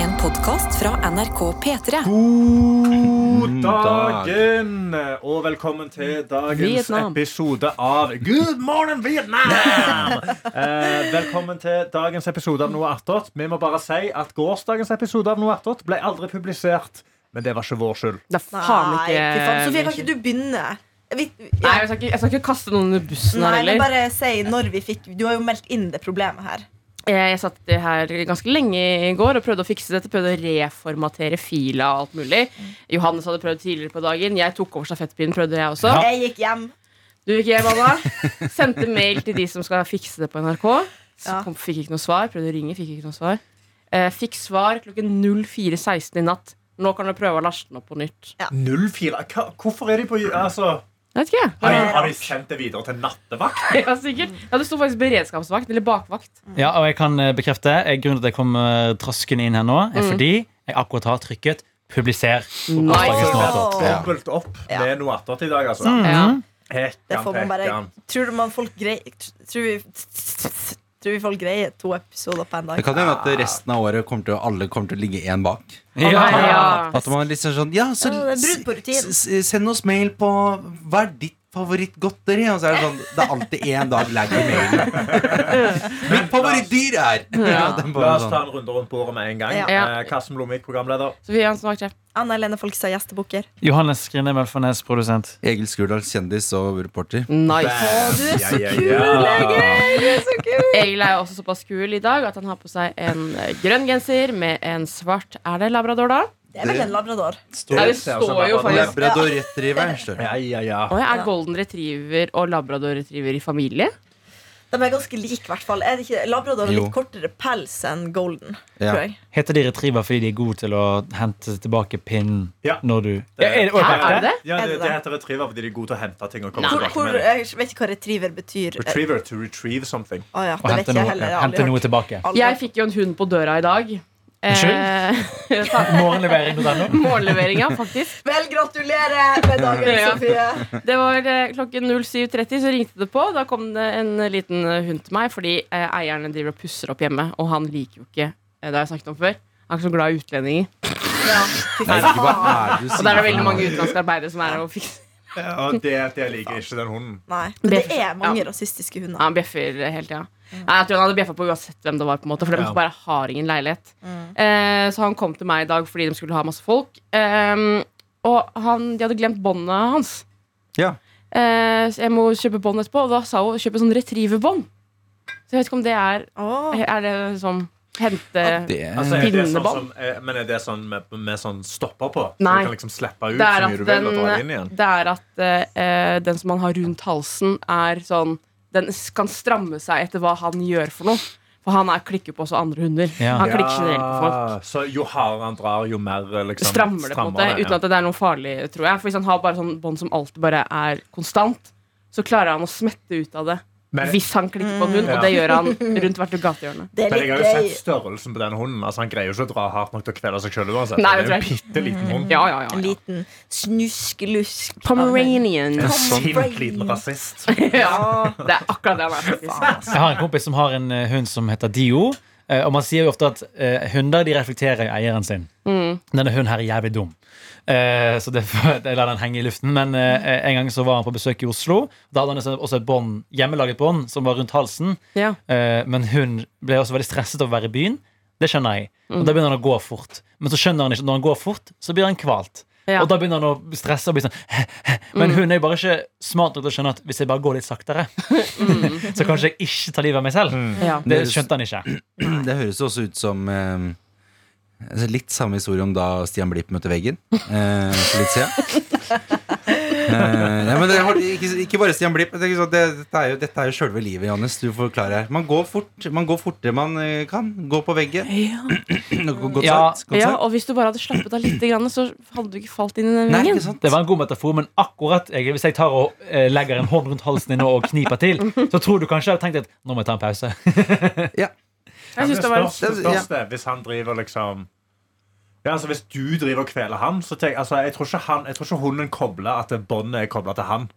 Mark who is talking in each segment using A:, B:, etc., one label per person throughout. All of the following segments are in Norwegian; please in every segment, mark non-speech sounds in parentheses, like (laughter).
A: En podkast fra NRK P3.
B: God
C: dag.
B: dagen, og velkommen til dagens
D: Vietnam.
B: episode av Good morning, Vietnam! Eh, velkommen til dagens episode av Noe attåt. Vi må bare si at gårsdagens episode av Noe attåt ble aldri publisert. Men det var ikke vår skyld.
D: Det er faen
E: Nei,
D: ikke
E: fy faen. Sofie, kan ikke du begynne? Vi,
D: Nei,
E: ja.
D: jeg skal, ikke, jeg skal ikke kaste noen under bussen her
E: Nei, men
D: heller.
E: bare si når vi fikk Du har jo meldt inn det problemet her.
D: Eh, Jeg satt her ganske lenge i går og prøvde å fikse dette. Prøvde å reformatere fila og alt mulig. Johannes hadde prøvd tidligere på dagen. Jeg tok over stafettpinnen, prøvde jeg også.
E: Jeg gikk hjem.
D: Du gikk hjem, Anna. Sendte mail til de som skal fikse det på NRK. Så
E: Ja.
D: kom, fikk ikke noe svar. Prøvde å ringe, fikk ikke noe svar. Eh, fikk svar klokken 04.16 i natt. Nå kan du prøve å laste den opp på nytt.
B: 04? Hva- Hvorfor er de på altså,
D: Jeg vet ikke, jeg.
B: har, de, har de sendt det videre til nattevakt?
D: (laughs) Ja, sikkert. Ja, det sto faktisk beredskapsvakt eller bakvakt.
C: Ja, og jeg kan eh, bekrefte eh, Grunnen til at jeg kommer traskende inn her nå, er fordi jeg akkurat har trykket 'publiser'. på
D: Nice.
C: dagens
E: Åh.
C: Noatot.
E: Ja.
B: Dobbelt opp
E: Ja.
B: med Noe attåt i dag, altså.
D: Ja.
E: Det
B: Hekkan,
E: får man bare
B: pekkan.
E: Tror du man folk greier Tror vi Tror vi folk greier to episoder på en dag?
F: Det kan hende at resten av året kommer til, å- alle kommer til å ligge én bak.
D: Ja. Ja.
F: At man liksom sånn Ja, så
E: Ja, det er brudd på rutinen.
F: s- s- send oss mail på Hva er ditt favorittgodteri? Og så er det sånn Det er alltid én dag lag i mailen. Mitt favorittdyr er (laughs)
D: Ja.
F: Den
B: La
F: bare sånn.
B: oss ta en runde rundt bordet med en gang.
E: Ja.
D: Ja.
B: Eh, Karsten Blomvik, programleder.
D: Så vi er hans vaktsjef.
E: Anna Helene Folkestad, gjestebukker.
C: Johannes Grine Mølfarnes, produsent.
F: sånn Egil Skurdal, kjendis og reporter.
D: Nice.
B: Å,
E: du er så
B: kul,
D: Egil er jo også såpass kul i dag at han har på seg en eh, grønn genser med en svart Er det labrador, da?
E: Det er vel en labrador.
D: Nei, det står jo faktisk
F: Labrador retriever. står det.
B: Ja, ja, ja.
D: Å, jeg er golden retriever og labrador retriever i familie?
E: De er ganske like, i hvert fall. Er det ikke Labrador har
F: Jo.
E: litt kortere pels enn golden.
F: Ja.
E: Tror jeg.
C: Heter de retriever fordi de er gode til å hente tilbake pinnen
B: Ja.
C: når du
B: Det-
C: Ja, er
D: Hæ, er det
C: det-
D: det?
B: Ja, det,
E: Er
B: det
E: det det?
B: heter retriever fordi de er gode til å hente ting. og komme
E: Hvor,
B: tilbake
E: hvor,
B: med det.
E: jeg vet ikke hva retriever betyr. Eh,
B: Retriever to retrieve something.
E: Å ja, det
C: Å
E: vet
C: hente
E: ikke jeg
C: noe,
E: heller. Jeg
C: ja,
E: har aldri
C: hente noe
E: hørt.
C: tilbake.
E: Aldri
D: Jeg fikk jo en hund på døra i dag. Eh, (laughs)
C: Morgenlevering.no.
D: Morgenleveringa, faktisk.
E: Vel, gratulerer med dagen,
D: Ja.
E: Sofie.
D: Det var eh, klokken 07.30, så ringte det på. Da kom det en liten eh, hund til meg, fordi eh, eierne driver og pusser opp hjemme. Og han liker jo ikke eh, det har jeg snakket om før. Han er ikke så glad i utlendinger.
E: Ja. Fy
F: Nei,
E: faen.
F: hva er det du
D: Og der er det
F: sier?
D: veldig mange utenlandske arbeidere som er her og fikser
B: Ja, det, det liker ikke den hunden.
E: Nei. Men det
D: Bjeffer.
E: er mange
D: Ja.
E: rasistiske
D: Ja,
E: hunder.
D: Han bjeffer hele tida. Nei, jeg tror han hadde bjeffa på uansett hvem det var, på en måte for de
B: Ja.
D: bare har ingen leilighet. Eh, så han kom til meg i dag fordi de skulle ha masse folk. Ehm, og han, de hadde glemt båndet hans.
F: Ja.
D: Eh, så jeg må kjøpe bånd etterpå, og da sa hun kjøp et sånn retrieverbånd. Så jeg vet ikke om det er
E: Åh.
D: Er det sånn hente
F: Det
B: Altså, er det sånn
D: Pinnebånd?
B: som, eh, men er det sånn med, med sånn stopper på? Så
D: Nei.
B: du kan liksom slippe ut
D: Det er
B: så mye
D: at
B: du vil og dra inn
D: den,
B: igjen?
D: det er at eh, den som man har rundt halsen, er sånn Den s- kan stramme seg etter hva han gjør for noe. For han er klikker på også andre hunder.
C: Ja.
D: Han klikker generelt på folk.
B: Ja, Så jo hardere han drar, jo mer liksom,
D: strammer det på en måte,
B: ja.
D: uten at det er noe farlig, tror jeg. For hvis han har bare sånn bånd som alltid bare er konstant, så klarer han å smette ut av det.
B: Men-
D: hvis han klikker på en hund, og det gjør han rundt hvert gatehjørne.
E: Det
B: Men jeg
E: er
B: har jo
E: litt gøy.
B: sett størrelsen på den hunden. Altså, han greier jo ikke å dra hardt nok til å kvele seg sjøl uansett.
D: Nei,
B: det er jo en
D: det
B: bitte liten hund.
D: Ja, ja, ja,
E: En
D: ja.
E: liten snuskelusk.
D: Pomeranian.
B: En
E: Sånn.
B: sint liten rasist.
D: (laughs) Ja, det er akkurat det han er. faktisk.
C: Jeg har en kompis som har en eh, hund som heter Dio. eh, Og man sier jo ofte at eh, hunder de reflekterer jo eieren sin. Denne hunden her er jævlig dum. Eh, Så det, jeg lar den henge i luften. Men eh, en gang så var han på besøk i Oslo. Da hadde han også et bånd, hjemmelaget bånd som var rundt halsen.
D: Ja.
C: Eh, Men hun ble også veldig stresset av å være i byen. Det skjønner jeg. Og da begynner han å gå fort. Men så skjønner han ikke at når han går fort, så blir han kvalt.
D: Ja. Mm.
C: Og da begynner han å stresse og bli sånn Men hun er jo bare ikke smart nok til å skjønne at hvis jeg bare går litt saktere, så kanskje jeg ikke tar livet av meg selv.
D: Mm. Ja.
C: Mm. Det skjønte han ikke.
F: (clears throat) Det høres jo også ut som eh, altså litt samme historie om da Stian Blipp møtte veggen eh, for litt siden. Eh, ja, men det har, ikke, ikke bare Stian Blipp. men Det, er ikke sånn, det, dette er jo, dette er jo sjølve livet, Johannes. Du forklarer her. Man går fort Man går fortere man eh, kan. Gå på veggen. Godt
C: Ja.
F: sagt. Godt
D: ja,
F: sagt.
D: og hvis du bare hadde slappet av litt, grann, så hadde du ikke falt inn i den
F: Nei,
D: vingen.
F: ikke sant?
C: Det var en god metafor, men akkurat jeg, hvis jeg tar og eh, legger en hånd rundt halsen din nå og kniper til, så tror du kanskje jeg hadde tenkt at nå må jeg ta en pause.
D: Jeg synes det var
B: spørs, det spørs det, hvis han driver liksom ja, altså Hvis du driver og kveler han, så tenk, altså, jeg, tror ikke han jeg tror ikke hunden kobler at det båndet er kobla til han.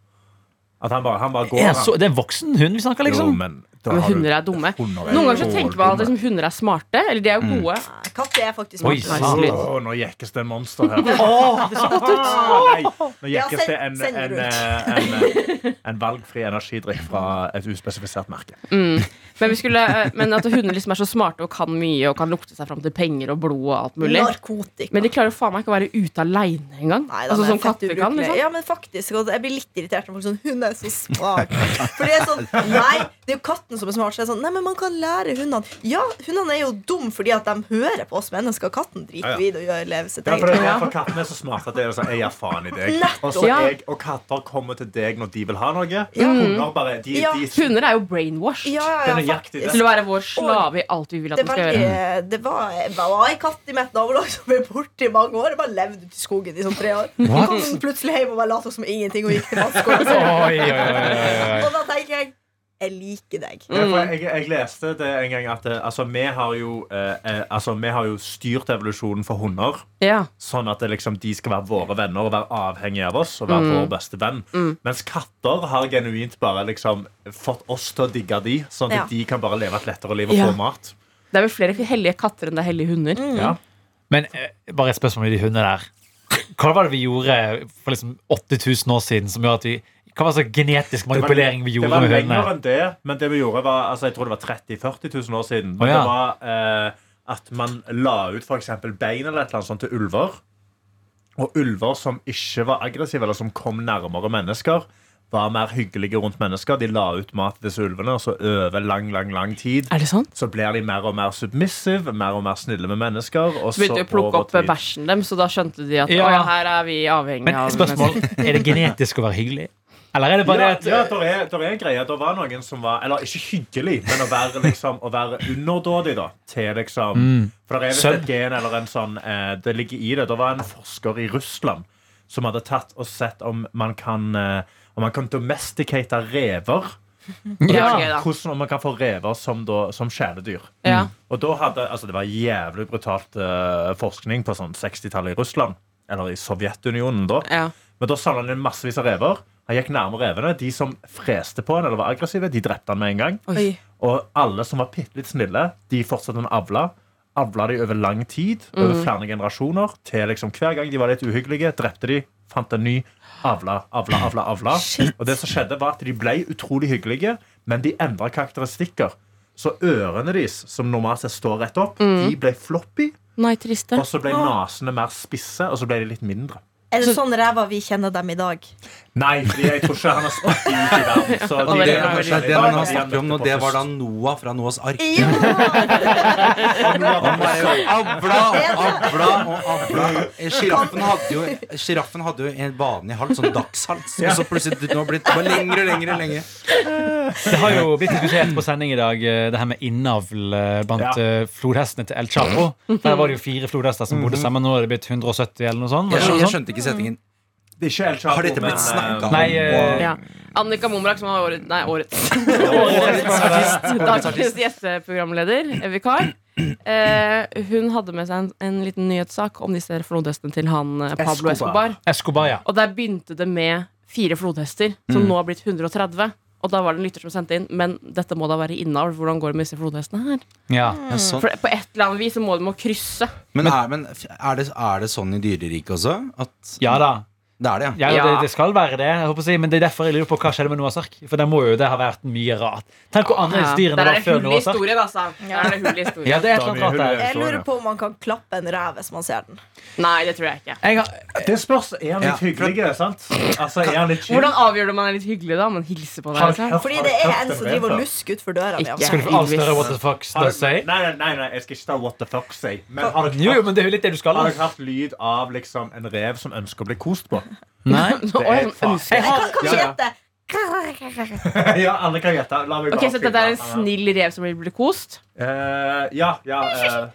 B: At han bare, han bare går.
C: Er
B: Han.
C: så, det er en voksen hund vi snakker,
B: Jo,
C: liksom.
B: men Da
D: Men
B: har du-
D: hunder er dumme.
B: Hunder er
D: Noen ganger så
B: dårlig
D: tenker man at
B: dumme.
D: liksom, hunder er smarte, eller de er jo gode.
E: Katter er faktisk
C: Oi,
E: smarte.
C: sant.
D: Lyd.
B: Åh, nå jekkes det en monster
D: (laughs)
B: her. Åh, det så godt ut! Nei, nå
E: Ja,
B: jekkes
E: send-
B: det en,
E: send det
B: en, eh, en, eh, en valgfri energidrikk fra et uspesifisert merke.
D: Men, vi skulle, eh, men at hunder liksom er så smarte og kan mye og kan lukte seg fram til penger og blod og alt mulig.
E: Narkotika.
D: Men de klarer jo faen meg ikke å være ute aleine engang.
E: Nei, da,
D: Altså,
E: det er
D: som
E: fett
D: katter kan.
E: ubrukelig.
D: Liksom.
E: Ja, men faktisk, og Jeg blir litt irritert når folk er sånn 'Hun er så smart'. For det er sånn, nei, det er jo katten som er smart. Så det er sånn, nei, men Man kan lære hundene Ja, hundene er jo dum fordi at de hører på oss mennesker. Katten driter
B: Ja, ja.
E: jo i det og gjør lever sitt
B: Ja, for,
E: eget.
B: det, er for Kattene er så smarte at det er sånn, jeg gir faen i deg. Og, så
D: Ja.
B: jeg, og katter kommer til deg når de vil ha noe. Hunder bare, de,
E: Ja,
B: de,
D: Hunder er jo brainwashed
E: Ja, ja,
B: Den er
E: ja,
B: jakt i det.
E: faktisk.
D: til å være vår slave i alt vi vil at
E: Det,
D: den
E: var,
D: skal gjøre.
E: eh, det var, det var en katt i mitt nabolag som ble borte i mange år. Jeg bare levde ute i skogen i sånn tre år. Så
C: What?
E: kom den plutselig hjem og bare lot som ingenting og gikk til
D: (laughs)
E: vannskåla.
C: Oi, oi, oi, oi, oi.
E: Og da tenker jeg jeg liker deg.
B: Ja, for jeg, jeg leste det en gang at eh, altså, vi, har jo, eh, eh, altså, vi har jo styrt evolusjonen for hunder.
D: Ja.
B: Sånn at det liksom, de skal være våre venner og være avhengige av oss. Og være vår beste venn Mens katter har genuint bare liksom, fått oss til å digge de Sånn at
E: Ja.
B: de kan bare leve et lettere liv og
D: Ja.
B: få mat.
D: Det er vel flere hellige katter enn det er hellige hunder.
E: Mm.
B: Ja.
C: Men eh, bare et spørsmål om de hundene der. Hva var det vi gjorde for liksom 8000 år siden som gjør at vi Hva var det slags genetisk
B: Det var-
C: manipulering vi
B: det
C: gjorde
B: var
C: med
B: lenger
C: hundene?
B: enn det, men det vi gjorde var altså, Jeg tror det var 30 000-40 000 år siden. Men
C: Å, ja.
B: Det var eh, at man la ut for eksempel bein eller et eller annet sånt til ulver. Og ulver som ikke var aggressive, eller som kom nærmere mennesker, var mer hyggelige rundt mennesker. De la ut mat til disse ulvene, og så over lang, lang, lang tid
D: Er det sant?
B: så blir de mer og mer submissive, mer og mer snille med mennesker. Og
D: Så begynte vi å plukke opp eh, bæsjen dem, så da skjønte de at
C: Ja.
D: ja. ja, her er vi avhengige
C: Men spørsmål, er det genetisk å være hyggelig? Eller er det bare
B: Ja,
C: det
B: ja
C: at
B: der er, der er en greie. Der var noen som var Eller ikke hyggelig, men å være, liksom, å være underdådig, da. Til liksom For det er visst
C: Mm. Sønn.
B: et gen eller en sånn eh, Det ligger i det. Det var en forsker i Russland som hadde tatt og sett om man kan eh, Om man kan domesticate rever.
D: mennesker. Ja. det er gøy,
B: Hvordan om man kan få rever som, da, som kjæledyr.
D: da. Ja.
B: Og da hadde, altså Det var jævlig brutalt eh, forskning på sånn 60-tallet i Russland. Eller i Sovjetunionen, da.
D: Ja.
B: Men da samla han inn massevis av rever. Han gikk nærme revene. De som freste på han eller var aggressive, de drepte han med en gang.
D: Oi.
B: Og alle som var bitte litt snille, de fortsatte han å avle. Avla de over lang tid, over
F: Mhm.
B: flere generasjoner. Til liksom Hver gang de var litt uhyggelige, drepte de, fant en ny. Avla, avla, avla. avla. Og det som skjedde var at de ble utrolig hyggelige, men de endra karakteristikker. Så ørene deres, som normalt sett står rett opp,
F: Mm.
B: de ble floppy.
D: Nei, triste.
B: Og så ble nesene mer spisse, og så ble de litt mindre.
E: Er det sånn ræva vi kjenner dem i dag?
B: Nei, fordi jeg tror ikke han har spurt ut i
F: (laughs)
B: verden. Så
D: Og
F: Det,
D: veldig
F: det,
D: bra,
F: det, det man har snakket om nå, det var da Noah fra Noahs ark.
E: Ja!
B: Han var jo-
F: Avla, avla og avla. Sjiraffen hadde jo Giraffen hadde jo en vanlig hals, sånn dagshals. Og så plutselig nå har det blitt bare lengre lengre, lengre.
C: Det har jo blitt diskutert på sending i dag, eh, det her med innavl eh, blant
B: Ja. Mhm.
C: eh, flodhestene til El Chapo. Der var det jo fire flodhester som bodde sammen. Nå er det blitt 170 eller noe sånt. Var
F: Jeg, skjønte-
C: det sånn? noe
F: jeg
C: sånt?
F: skjønte ikke setningen.
B: Det er ikke helt klart,
F: Har dette
B: men,
F: blitt
B: eh,
F: snakka om?
C: Nei, eh,
D: Ja. Annika Momrak, som var året, nei, årets
F: Årets
D: (laughs) dagens gjesteprogramleder, eh, vikar, eh, hun hadde med seg en, en liten nyhetssak om disse flodhestene til han eh, Pablo
B: Escobar.
D: Escobar.
C: Escobar, ja.
D: Og der begynte det med fire flodhester, som nå har blitt 130. Og da var det en lytter som sendte inn Men dette må da være innavl. Hvordan går det med disse flodhestene her?
C: ja.
F: Ja, sånn.
D: For på et eller annet vis så må de må krysse.
F: Men, er, men er, det, er det sånn i dyreriket også? At
C: Ja da.
F: det er det, ja.
C: Ja,
D: Ja.
C: Det, det skal være det. Jeg håper å si. Men det er derfor jeg lurer på hva skjedde med Noahs ark. For der må jo det ha vært mye rart. Tenk hvor annerledes dyrene
D: der er
C: var
D: det
C: før
D: hull i
C: Noahs ark.
D: historien, altså. Der er det hull i historien.
C: Ja, det er et eller annet rart der.
E: Jeg lurer på om man kan klappe en ræv hvis man ser den.
D: Nei, det tror jeg ikke.
C: Jeg har,
B: Det spørs. Er han litt
F: Ja.
B: hyggelig? sant? Altså, er han litt chill?
D: Hvordan avgjør du om man er litt hyggelig, da? Om man hilser på deg?
B: Har-
D: Liksom?
B: har-
E: Fordi
B: har
E: det
B: du
E: er
B: hørt
E: en
B: det
E: som
B: før?
E: driver og lusker utfor døra mi.
D: Ikke.
E: altså.
C: skal du få avsløre what the fuck
B: Har
C: does
B: du-
C: say?
B: Nei, nei, nei, nei, jeg skal ikke ta what the fuck say. Men har dere
C: Jo, jo,
B: hørt,
C: men det er jo litt det du skal. altså.
B: har
C: da.
B: dere hørt lyd av liksom, en rev som ønsker å bli kost på?
C: Nei.
B: Det er et faen.
E: Nei, Kan, kan vi
B: Ja, ja.
E: gjette?
B: Ja, alle kan gjette. La meg bare
D: Ok, Så dette er en
B: finne.
D: snill rev som blir kost?
B: Eh, Ja, ja. eh,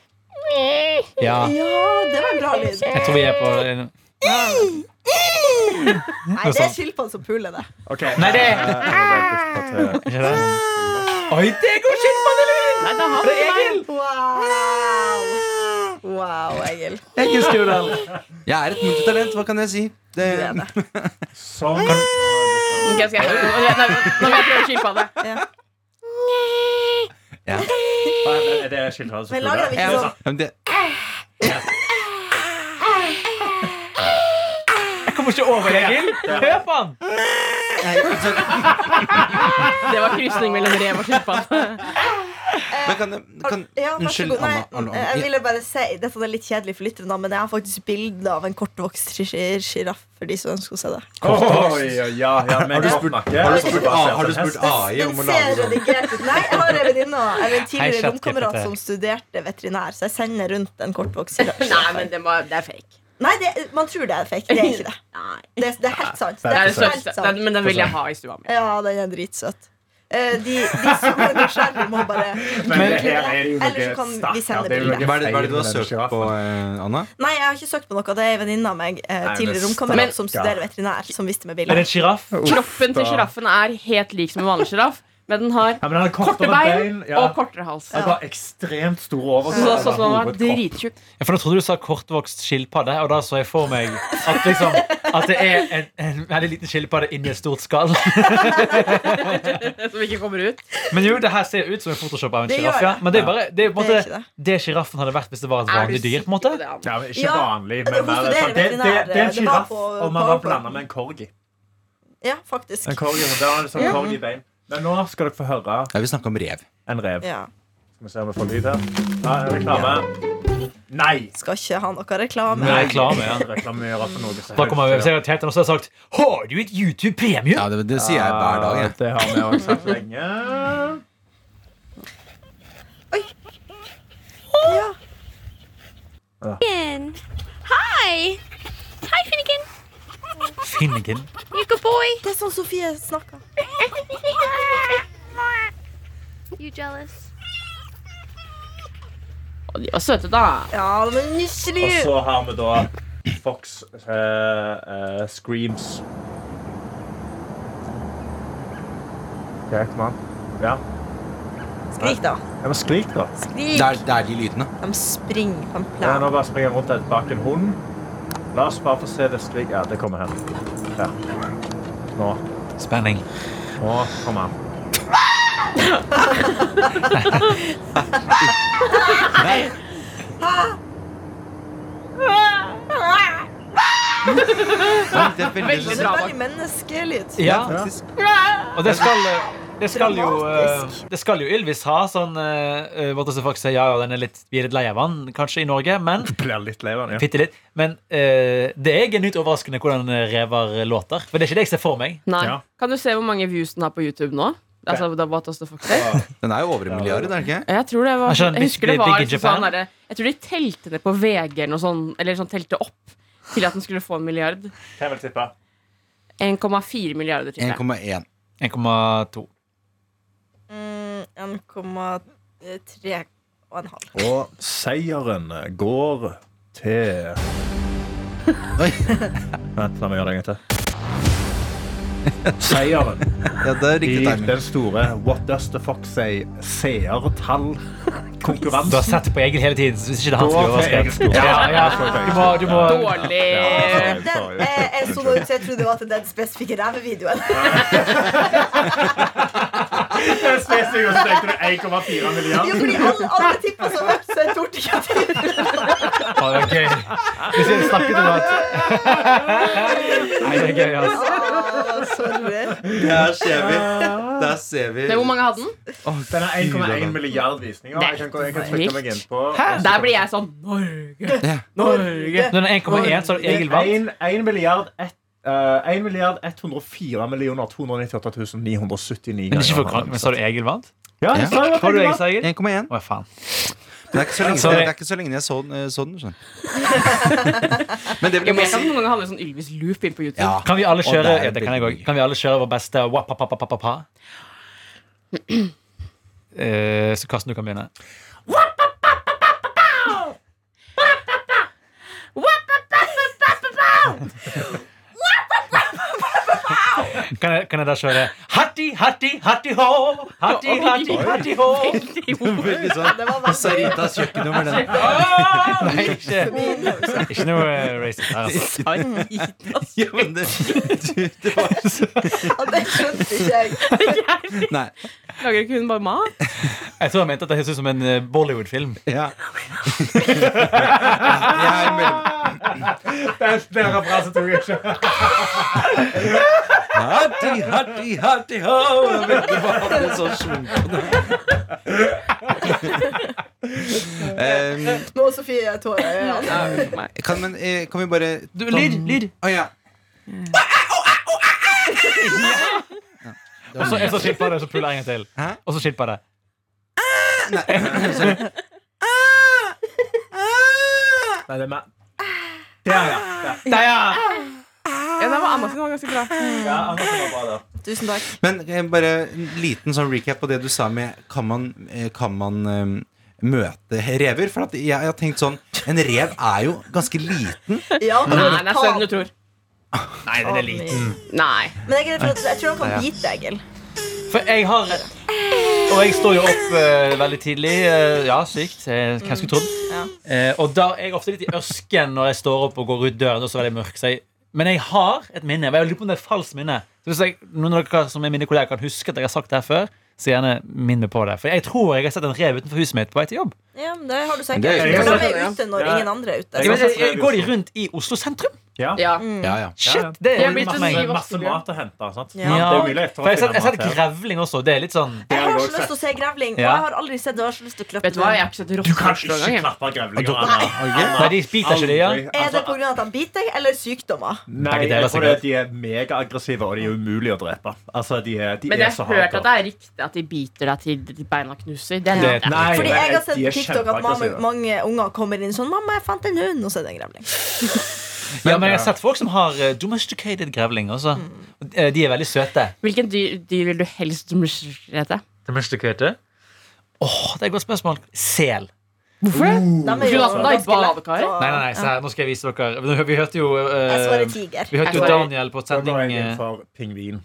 E: Ja,
C: Ja.
E: det var en bra lyd.
C: Jeg tror vi er på
E: Nei, det er skilpadden som puler det.
B: ok.
C: Nei, det-
B: Eh, jeg må bare puste til-
C: Ikke det? Oi, det går skilpaddelyd!
D: Nei, det er han.
C: Det er Egil!
E: Wow. Wow, Egil.
C: Egil Stjørdal.
F: Jeg er et multitalent, hva kan jeg si? Det,
E: Du er det.
B: Sånn.
D: Ok, skal jeg Nå må jeg prøve skilpadde.
E: Ja.
F: Ja.
B: Er det skiltradde som
E: Men lager dem
B: spurte?
E: ikke
D: Ja.
E: sånn.
F: Men det,
C: Jeg kommer ikke over, Egil. Hør på han!
F: altså,
D: Det var krysning mellom rev og skilpadde.
F: men kan, kan,
E: Ja, vær så
F: unnskyld,
E: god. Nei,
F: Anna. Anna, Anna.
E: jeg ville bare si Dette er litt kjedelig for lytterne, men jeg har faktisk bilde av en kortvokst sjiraff for de som ønsker å se det.
B: Oi, ja, ja, ja, men godt nok, ja.
F: Har du spurt, A- har du spurt AI
E: Den
F: om å
E: ser
F: lage sånn?
E: redigert ut. Nei, jeg har en venninne eller en
C: Hei,
E: tidligere
C: chat,
E: romkamerat
C: GPT.
E: som studerte veterinær, så jeg sender rundt en kortvokst sjiraff.
D: Nei, men det, var, det er fake.
E: Nei, det, man tror det er fake. Det er ikke det.
D: Nei.
E: Det, det er helt sant.
D: Det er det
E: helt
D: største.
E: sant.
D: Den, men den vil jeg ha i stua mi.
E: Ja, den er dritsøt. Eh, de, de som er nysgjerrige, må bare
B: Men det her er jo
E: Eller så
B: noe
E: kan vi
B: stakkars.
E: sende
B: Det er jo
E: bilde.
B: noe
F: Hva er det, hva er det du har
B: feil med den
F: søkt på,
B: sjiraffen.
F: eh, Anna?
E: Nei, jeg har ikke søkt på noe. Det er en venninne av meg, eh,
B: men
E: tidligere
B: stakkars.
E: romkamerat, som studerer veterinær, som visste meg
C: Er det
E: bildet.
C: en sjiraff?
D: Kroppen
B: da.
D: til sjiraffen er helt lik som en vanlig sjiraff, men den har
B: Ja, men han har
D: korte
B: kortere
D: bein
B: bein. Ja.
D: og kortere hals.
B: Han har ekstremt store
D: Så
B: overkropp.
D: sånn som den var
B: Hovedkropp.
D: drittjukk.
C: Ja, for Nå trodde du sa kortvokst skilpadde, og da så jeg for meg at, liksom, at det er en, en veldig liten skilpadde inni et stort skall.
D: Som ikke kommer ut.
C: Men jo, det her ser ut som en photoshop av en
E: Det gjør
C: sjiraff. Ja.
E: det.
C: Men det er bare det, er
E: Det er
C: på en måte,
E: ikke
C: det sjiraffen hadde vært hvis det var et vanlig dyr. på en måte
D: sikker på det?
B: Ja, men ikke
E: Ja,
B: vanlig, men
E: det er
B: mer
E: hovedstuderer
B: sånn- det, det, det, er en
E: veterinær. Det var
B: sjiraff
E: på
B: om han var
E: PowerPoint.
B: blanda med en corgi.
E: Ja, faktisk.
B: En corgi, og da er det sånn corgi-bein. Men nå skal dere få høre
F: Jeg vil snakke om rev.
B: en rev.
E: Ja.
B: Skal vi se om vi får lyd her. Ja, en reklame. Nei!
E: Skal ikke ha noe reklame.
C: Nei. Reklame, ja.
B: Reklamere for noe.
C: Da kommer jeg, hvis jeg hadde tjent den, og så hadde jeg sagt Har du et YouTube-premium?
F: Ja, det, det sier jeg hver dag.
B: Ja,
F: Jeg.
B: Det har vi også sagt lenge.
E: Ja.
G: Finnegan. Hi. Hi, Finnegan.
C: Finnegan.
G: You good boy.
E: Det er sånn Sofie snakker.
G: you jealous?
D: Og de var søte, da.
E: Ja, de er nysgjerrig.
B: Og så har vi da Fox eh, eh, Screams. Okay, kom an. Ja.
E: Skrik, da.
B: ja, men skrik, da.
E: Skrik.
F: Det er, det er de lydene.
E: De springer på en
B: Ja,
E: plan.
B: nå bare springer jeg rundt et bak en hund. La oss bare få se det skrik. Ja, det kommer her. Ja. Nå.
C: Spenning.
B: Nå kommer han.
F: Det er veldig
E: Det
F: sånn-
E: er veldig menneskelyd.
C: Ja,
F: faktisk.
C: og det skal eh, det skal, jo, eh, det skal jo Ylvis ha. Sånn, eh, eh, måte som folk sier ja, ja, den er litt, vi er litt lei av han, kanskje, i Norge. Men
B: Blir litt lei av den,
C: Bitte litt. Men eh, det er genuint overraskende hvordan rever låter. For det er ikke det jeg ser for meg.
D: Nei.
B: Ja.
D: Kan du se hvor mange views den har på YouTube nå? Altså, da What Does The Fox Say?
F: Den er jo over en milliard, er den ikke?
D: Jeg tror det var
C: Er ikke den
D: Jeg husker det
C: Altså, big-
D: var
C: big in
D: liksom
C: Japan?
D: sånn derre Jeg tror de telte ned på VG eller noe sånn, eller sånn telte opp til at den skulle få en milliard.
B: Kan jeg vel tippe.
D: 1,4 milliarder, tipper jeg.
F: 1,1.
C: 1,2.
E: Mm, 1,3 og en halv.
B: Og seieren går til
F: Oi.
B: Vent, la meg gjøre det en gang til. Seieren
F: Ja, det er
B: i
F: riktig timing.
B: den store What Does The Fox Say
C: Du har
B: seertall-konkurransen.
C: sett det på Egil hele tiden. så Hvis ikke det er han som blir
B: Gå for Egil
C: overrasket.
B: Skog.
C: Ja, ja. Du må, du må
D: Eh, Dårlig.
E: Den er er sånn ut, så jeg trodde det var til den spesifikke rævevideoen.
B: Jeg spesifikt og så tenkte du 1,4
E: (laughs) Jo,
B: milliarder.
E: fordi alle, alle tippa så høyt, så jeg torde
C: (laughs)
E: ikke å tippe.
C: Ja, det var gøy. Hvis vi hadde snakket om at Nei, det er gøy, altså.
E: Ah, sorry.
F: Der ser vi. Der ser vi.
D: Men hvor mange hadde den?
B: Den har 1,1 milliard visninger. Jeg kan, gå- jeg kan trykke meg inn på
D: Der blir jeg sånn Norge! Norge!
C: Når den er 1,1, så har Egil vant.
B: 1, milliard ett- eh, 1 milliard 104 millioner 298 979
C: Men ikke for krank, men så har du Egil vant?
B: Ja, jeg sa jo at
C: Hva har du
B: jeg
C: Egil,
B: vant.
C: sa Egil?
F: 1,1.
C: Å, faen.
F: Det er ikke så lenge,
C: Sorry.
F: det er ikke så lenge jeg så, den- eh, så den. (laughs) skjønner du. Men det vil jeg
D: Jo, men
F: bare
D: jeg kan
F: si.
D: noen ganger handle sånn Ylvis loop inn på YouTube.
F: Ja.
C: Kan vi alle
F: Og
C: kjøre
F: der
C: ja, det kan jeg
F: blir-
C: også. Kan vi alle kjøre vår beste wapapapapapa? Eh, Så Karsten, du kan begynne. Kan jeg, kan jeg da kjøre Hatti, hatti, hatti hå. Hatti, hatti, hatti hå.
F: Veldig sånn
E: Det var
C: Altså,
E: veldig
F: Saritas kjøkkennummer, den.
C: Nei, ikke, ikke noe eh, racist der, altså.
F: Ja, men det, du, det var
E: Ja, det skjønte ikke jeg.
F: (laughs) Nei.
D: (laughs) Lager ikke hun bare mat?
C: Jeg tror jeg mente at det høres ut som en eh, Bollywood-film.
F: Ja. (laughs) Jeg er mellom
B: Den den referansen tok jeg ikke.
F: Hatti, hatti, hatti, ho Jeg vet ikke hva han hadde sånn svung på det.
E: Nå har Sofie tårer i øynene.
D: Ja, for
F: Um,
D: meg.
F: kan, men, eh, kan vi bare du,
C: Lyd, lyd.
F: Å ja.
C: Og Sånn. så, og så skilpa det, og så puller jeg en gang til.
F: Hæ?
C: Og så skilpa det.
B: Nei, det er meg. Der, ja. Der.
C: Der, ja!
D: Ja, nei, men Anna sin var ganske bra.
B: ja Anders var bra der.
E: Tusen takk.
F: Men eh, bare en liten sånn recap på det du sa med Kan man, eh, kan man eh, møte rever? For at jeg, jeg har tenkt sånn En rev er jo ganske liten.
E: Ja,
D: Nei, det er større enn du tror.
C: Nei, den er liten.
D: Nei.
E: Men jeg, er redd for at, jeg tror han kan bite deg, Egil.
C: For jeg har Og jeg står jo opp eh, veldig tidlig. eh, ja, sykt. eh, Hvem skulle trodd?
E: Ja.
C: Eh, og da er jeg ofte litt i ørsken når jeg står opp og går ut døren. Og så er det mørkt. Så jeg, men jeg har et minne. men Jeg lurer på om det er et falskt minne. Så hvis jeg, noen av dere som er mine kolleger kan huske at jeg har sagt det her før, så gjerne minn meg på det. For jeg tror jeg har sett en rev utenfor huset mitt på vei til jobb.
E: Ja, men det har du
F: Det er
E: sikkert.
F: jo-
E: For de er ute når
B: Ja.
E: ingen andre er ute.
B: Ja,
C: Men,
B: men-
E: Så.
C: jeg, jeg, går de rundt i Oslo sentrum?
B: Ja.
D: Ja.
E: Mm.
F: Ja, ja.
B: Ja, ja.
C: Shit, det
D: Det
C: er
D: er blitt
C: masse
D: en ny
C: meg.
B: Det er masse mat å hente. Sant?
E: Ja.
B: Det er jo mye lettere
C: For
B: å
C: jeg har sett- jeg har sett
B: finne mat her.
C: grevling også. Det er litt sånn
E: Jeg har så
B: Det er
E: lyst til å se grevling, og
C: Ja.
E: jeg har aldri sett det. Jeg har så lyst til å klappe
D: Vet du hva,
E: den.
D: jeg har ikke sett
B: Du kan
D: rotter
B: ikke
D: engang.
B: klappe grevlinger.
F: Nei.
B: Anna. Anna.
C: Nei, de biter ikke, de, ja.
B: Aldri.
E: Er det
B: Altså,
E: pga. at han biter deg, eller sykdommer?
B: Nei,
C: Begge deler,
B: jeg tror det
C: sikkert.
B: er at de er megaaggressive, og de er umulige å drepe. Altså, de er, de
D: Men
B: er
D: jeg
B: så
D: har hørt at
B: harde.
D: det er riktig at de biter deg til beina knuser. Det er
C: Det-
D: det.
B: Nei,
E: Fordi
B: men
E: jeg har
B: de
E: sett
B: er
E: på TikTok at mange,
B: kjempeaggressive.
E: mange unger kommer inn sånn 'Mamma, jeg fant en hund.' Og så er det en grevling.
C: Ja, men jeg har sett folk som har eh, domesticated grevling også. Eh, De er veldig søte.
D: Hvilken dyr, dyr vil du helst hete?
C: Domesticated? Åh, det er et godt spørsmål. Sel.
E: De er jo
D: Glatta i
E: ganske
D: badekaret?
E: lett å-
C: Nei, nei, nei, se her, nå skal jeg vise dere. Vi- Vi hørte jo eh,
E: Jeg svarer tiger.
C: Vi hørte jo
D: Jeg svarer-
C: Daniel på et
B: Da går
C: sending
B: jeg inn
C: eh,
B: for pingvin.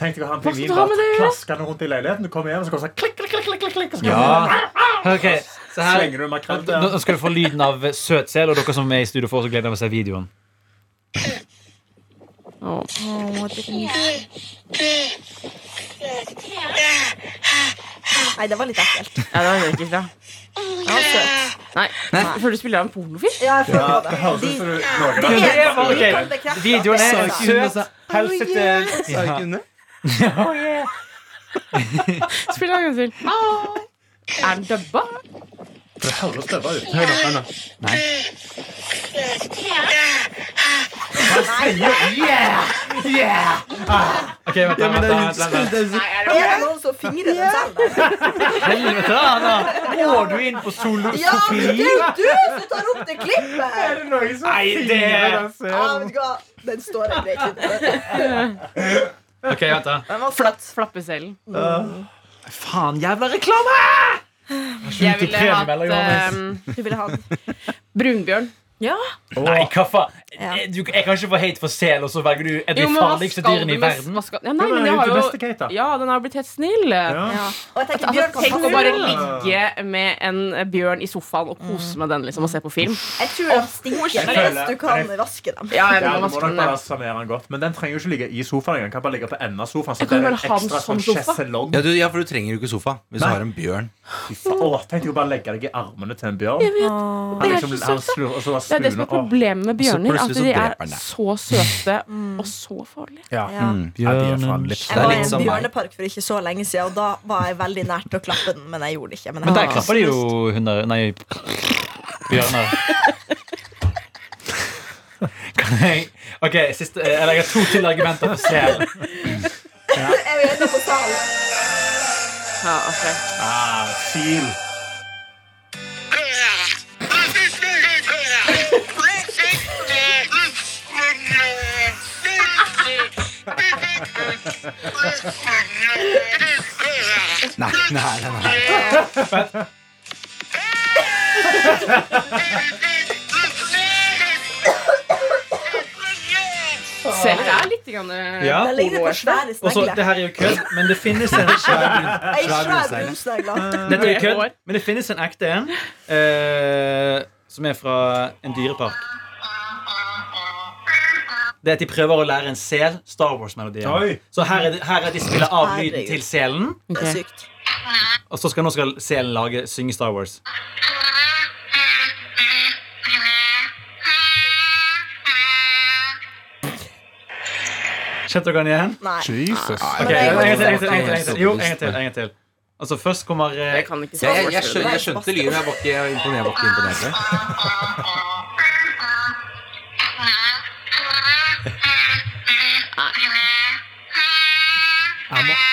B: Tenk deg å ha en
D: Hva skal
B: pingvin
D: du ha
B: bare
D: med det å gjøre?
B: klaskende rundt i leiligheten. Du kommer hjem, og så går det sånn klikk, klikk, klikk, klikk, klikk, og så
C: Ja. Ok, se her.
B: slenger du makrell
C: Nå
B: der.
C: nå skal du få lyden av eh, søt sel, og dere som er i studio for oss, gleder dere til å se videoen.
D: Åh.
E: Nei, det var litt ekkelt.
D: Ja, det var ikke bra.
E: Ja, søt.
D: Nei. Jeg føler du spiller av en pornofilm.
E: Ja,
B: Ja,
E: jeg føler på
B: det
E: det.
B: høres ut
E: De-
B: som du noen
E: de
B: av
E: er-
C: Ja, ok.
E: de kan bekrefte at
C: Videoen
E: det
C: er
E: det.
C: søt. Helsete.
F: Sa jeg ikke under?
D: Spill en gang til. Er den dubba?
B: Det høres døva ut. Hør nå, hør nå.
C: Ok, vent, da, vent, da, vent, da, vent.
E: Er det noen som fingrer den selv? der?
C: Helvete, Anna! Må du inn på solo? (laughs)
E: Ja, men det er jo du som tar opp det klippet! her.
C: Nei, det
E: Ja, vet du hva? Den står jeg greit under.
C: Ok, vent da.
E: Den var flatt.
D: Flappeselen.
C: Faen, jævla reklame!
D: Jeg ville
C: premie
D: hatt
C: mellom gangen.
D: ehm,
E: Du ville ha den.
D: brunbjørn.
C: Nei, hva faen? Eh,
E: Ja.
C: Du, jeg kan ikke få hate for sel, og så velger du et av de
D: Jo, men hva
C: farligste
D: skal
C: dyrene
D: du
C: i
D: med-
C: verden.
D: hva skal- Ja, nei,
B: Den
D: men
B: er
D: det
B: jo
D: har jo
B: domesticated.
D: Ja, den har blitt helt snill.
B: Ja.
E: Ja. Og jeg tenker bjørn
D: Altså,
E: kan
D: tenk å bare
E: passe på.
D: ligge med en eh, bjørn i sofaen og kose med den liksom, og se på film.
E: Jeg tror de stinker hvis du kan vaske dem.
D: Ja, jeg
B: Ja, du
D: vil
B: må
D: vaske
B: nok
D: den.
B: bare sanere den godt. Men den trenger jo ikke ligge i sofaen engang. Den Kan bare ligge på enden av sofaen. Så
D: Jeg kan
B: det er en
D: bare ha den
B: ekstra
D: som
B: sånn
D: sofa.
B: sjeselong.
F: Ja, du, ja, for du trenger jo ikke sofa hvis
B: Nei.
F: du har en bjørn.
B: Åh, Tenk deg å bare legge deg i armene til en bjørn. Han
D: Det er
B: liksom,
D: så
B: han
D: søtt,
B: slur, og så
D: Det er det som
B: spuler
D: er problemet med bjørner.
F: plutselig
D: At
F: så
D: de er
F: dreper den deg.
D: så (laughs) søte og så farlige.
B: Ja.
E: Ja.
B: Ja, de Mm. er faen litt-
E: Jeg
F: Det er
E: var i
F: litt
E: en
F: som meg.
E: bjørnepark for ikke så lenge siden, og da var jeg veldig nært å klappe den, men jeg gjorde det ikke. Men, jeg
C: Men der
E: hadde
C: klapper de
E: lyst.
C: jo hunder Nei, bjørner. (laughs) Kan jeg Ok, siste, eh, eller jeg har to til argumenter for sel.
E: Jeg er jo enig på salen.
D: Ja, ok.
B: Ah, sil.
F: Nei, nei, nei, nei.
D: Bukseler er litt grann, eh,
C: Ja.
E: Den ligner på
D: pornoverste.
E: svære
C: Og så,
E: snegler.
C: det her er jo kødd, men det
D: (laughs)
C: finnes en
E: Ei svær
F: Svær
E: brunsnegle.
C: Dette er jo
D: Med
C: kødd,
D: hår.
C: men det finnes en ekte en eh, som er fra en dyrepark. Det er at de prøver å lære en sel Star Wars-melodien.
B: Oi.
C: Så her er, det, her er de spiller av lyden
E: Herregud.
C: til selen,
E: Det er sykt.
C: og så skal nå skal selen lage, synge Star Wars. Kjente dere den igjen?
E: Nei.
B: Jesus.
C: Ok,
E: det er
C: en
E: jo helt
C: gang til, en gang til, en gang til, en gang til. Jo, en gang
F: fantastisk.
C: til. en gang til Altså Først kommer eh,
D: Jeg kan ikke
F: Jeg,
D: svare
F: jeg, jeg, skjønte, jeg skjønte lyden, jeg var ikke jeg var imponert. Jeg var ikke imponert over det.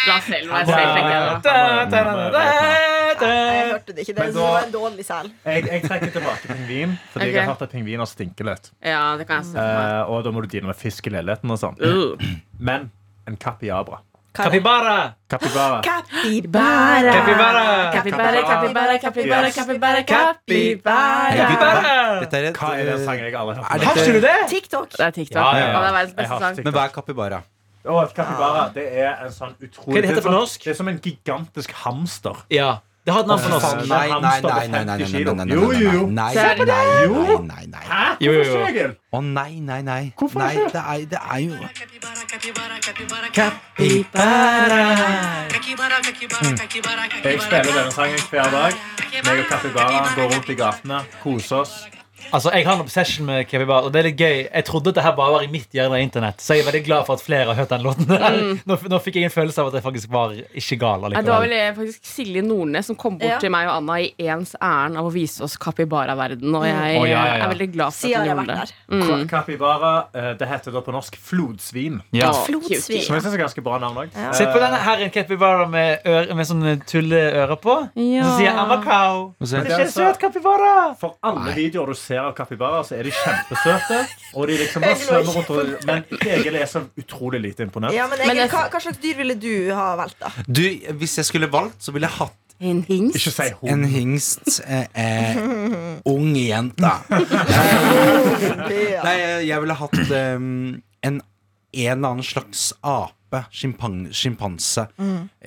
D: La selv være
C: da,
D: selv, tenker jeg da.
C: da, da, da, da,
E: Jeg
C: da.
E: hørte det ikke.
B: Men
E: Det
B: da-
E: var en dårlig sel.
B: Jeg, jeg trekker tilbake pingvin, fordi
D: Ok.
B: jeg har hørt at pingviner stinker litt.
D: Ja, det kan jeg se for meg.
B: Eh, og da må du deale med fisk i leiligheten og sånn.
D: Uh.
B: Men en capybara.
C: Kapibara!
B: Capybara.
E: Capybara.
C: Capybara.
D: Ah, Capybara, capybara, capybara, capybara, capybara.
F: Dette er et,
B: Hva er den sangen jeg aldri har
F: Er
B: hørt?
F: dette-
C: Har ikke du det?
E: TikTok.
D: Det er TikTok.
C: Ja, ja, ja.
D: Og det er verdens
B: Jeg
D: beste
B: har
D: sang.
B: TikTok.
F: eh, Men hva er capybara?
B: Å, et capybara det er en sånn utrolig
C: Hva heter det på
B: sånn-
C: norsk?
B: Det er som en gigantisk hamster.
C: Ja. Det har et navn på
B: Å,
C: norsk.
B: faen.
F: Nei, nei, nei, nei, nei, nei, nei, nei, nei, nei, nei, nei, nei,
B: Jo, jo, jo.
F: nei,
D: Se
F: nei,
D: på
F: nei, nei, nei, nei.
B: Hæ?
C: Jo, jo, jo.
B: Hvorfor ikke?
F: Å nei, nei, nei.
B: Hvorfor
F: nei
B: ikke?
F: det, er, det er jo
B: Jeg spiller denne sangen hver dag. Meg og capybaraen går rundt i gatene, koser oss.
C: Altså, Jeg har en obsession med Kapibara, og det er litt gøy. Jeg trodde at det her bare var i mitt hjørne av internett, så jeg er veldig glad for at flere har hørt den låten. (laughs) der nå, nå fikk jeg en følelse av at jeg faktisk var ikke gal
D: Nei, Det var
C: allikevel.
D: vel eh, faktisk Silje Nordnes som kom bort
E: Ja.
D: til meg og Anna i ens ærend av å vise oss Capybara-verden, og jeg
C: Å, ja, ja,
D: eh,
C: ja.
D: er veldig glad for
E: Siden
D: at
E: jeg
D: hun
E: har
D: gjorde
E: vært
D: det.
E: der.
B: Ka- Capybara, eh, det heter da på norsk flodsvin.
C: Ja.
D: Å,
E: Flodsvin.
D: cutie.
B: Som jeg synes er ganske bra navn òg.
E: Ja.
C: Sitt på denne her en capybara med, øre- med sånne tulleører på.
D: Ja.
C: Så sier jeg 'I'm a cow'.
F: Og så-
C: Det er en søt capybara.
B: For alle videoer du ser av capybara, så er de kjempesøte. Og de liksom bare svømmer rundt og Men Egil er så utrolig lite imponert.
E: Ja, men
D: Men
E: Egil,
D: jeg-
E: hva, hva slags dyr ville du ha valgt, da?
F: Du, hvis jeg skulle valgt, så ville jeg hatt
D: En hings.
B: Ikke si
F: en
B: hun.
F: hingst eh, eh, ung jente.
E: Ja.
F: Nei, eh, jeg ville hatt eh, en, en eller annen slags ape. Sjimpan- Sjimpanse.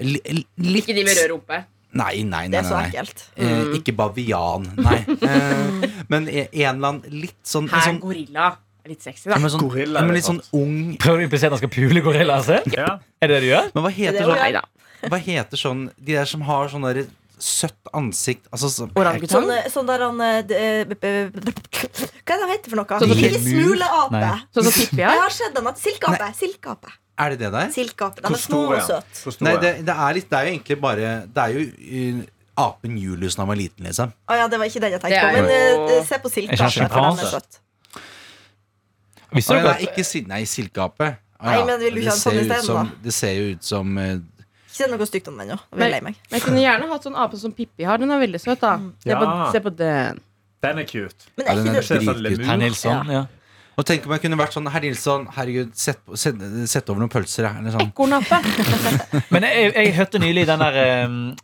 F: Li- li- litt-
D: Ikke de med rød rumpe.
F: Nei, nei, nei.
E: Det er så
F: nei, nei.
E: ekkelt.
F: Eh, ikke bavian,
E: (laughs)
F: nei. Eh, men en eller annen litt sånn,
D: Her,
F: en sånn,
D: gorilla. Er Litt sexy,
F: ja,
D: da.
F: men sånn,
B: Gorilla,
F: ja,
B: det
F: men
B: er
F: litt sånn ung
C: Prøver du å implisere at han skal pule gorillaer selv?
B: Ja.
C: Er det det du gjør?
F: Men hva
E: Det
F: heter,
E: er jo-
F: sånn,
D: Nei da.
F: hva heter sånn De der som har sånn der søtt ansikt altså, så,
D: Orangutang.
E: Sånn, eh, sånn der han eh, d- eh, b- b- b- Hva er det han heter for noe?
D: Sånn som
E: Lille
C: Pippi?
E: smuleape.
C: Nei.
D: Sånn som Pippi
E: Jeg
D: er.
E: har sett den. at- Silkeape. Silkeape.
F: Er det det der?
E: Silkeape.
B: Hvor
E: Den er små
B: stor
E: og
B: er han?
E: søt.
B: Hvor stor
F: Nei,
B: er
F: det,
B: han?
F: det er litt Det er jo egentlig bare Det er jo uh, apen Julius da han var liten, liksom.
E: Å ja, det var ikke den jeg
D: Det
E: tenkte
D: er
E: på. Men
D: jo-
E: eh, se på
C: Er ikke han
E: silkeape, for den er
D: altså.
C: sjimpanse?
E: søt.
C: Visste
F: Nei,
C: dere
F: nei,
C: at-
F: ikke si- Nei, silkeape. Å,
E: Nei, men vil du
F: Det
E: ikke ha en
F: ser
E: sånn
F: ut
E: isteden,
F: som-
E: da?
F: Det ser jo ut som eh,
E: Ikke si noe stygt om den ennå. Da blir
D: Men-
E: jeg lei meg.
D: Men jeg kunne gjerne hatt sånn ape som Pippi har. Den er veldig søt, da. Se på,
B: Ja.
D: se på den.
B: Den er cute.
E: Men
F: Ja,
E: er sånn
F: den
E: ikke
F: er
E: det
B: Ser ut som en
F: Dritkult.
B: lemur.
C: Herr Nilsson, ja.
F: Og tenk om jeg kunne vært sånn Herr Nilsson, herregud, sett, på- sett, sett over noen pølser, jeg, eller sånn.
D: Ekornape.
C: Men jeg, jeg hørte nylig den der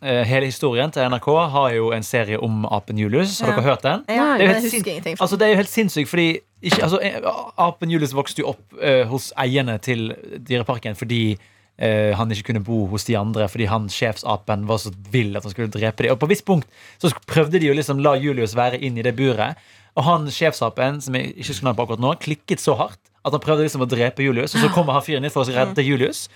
C: eh, hele historien til NRK har jo en serie om apen Julius. Har
E: Ja.
C: dere hørt den?
D: Nei,
E: Ja,
C: Det er jo
E: men
C: helt
E: jeg husker
C: sin-
E: ingenting.
C: Altså, det er jo helt sinnssykt, fordi ikke, altså, eh, apen Julius vokste jo opp eh, hos eierne til dyreparken fordi eh, han ikke kunne bo hos de andre fordi han sjefsapen var så vill at han skulle drepe dem. Og på et visst punkt så sk- prøvde de å liksom la Julius være inn i det buret, og han sjefsapen, som jeg ikke husker navnet på akkurat nå, klikket så hardt at han prøvde liksom å drepe Julius, og så kommer han fyren inn for å redde Julius,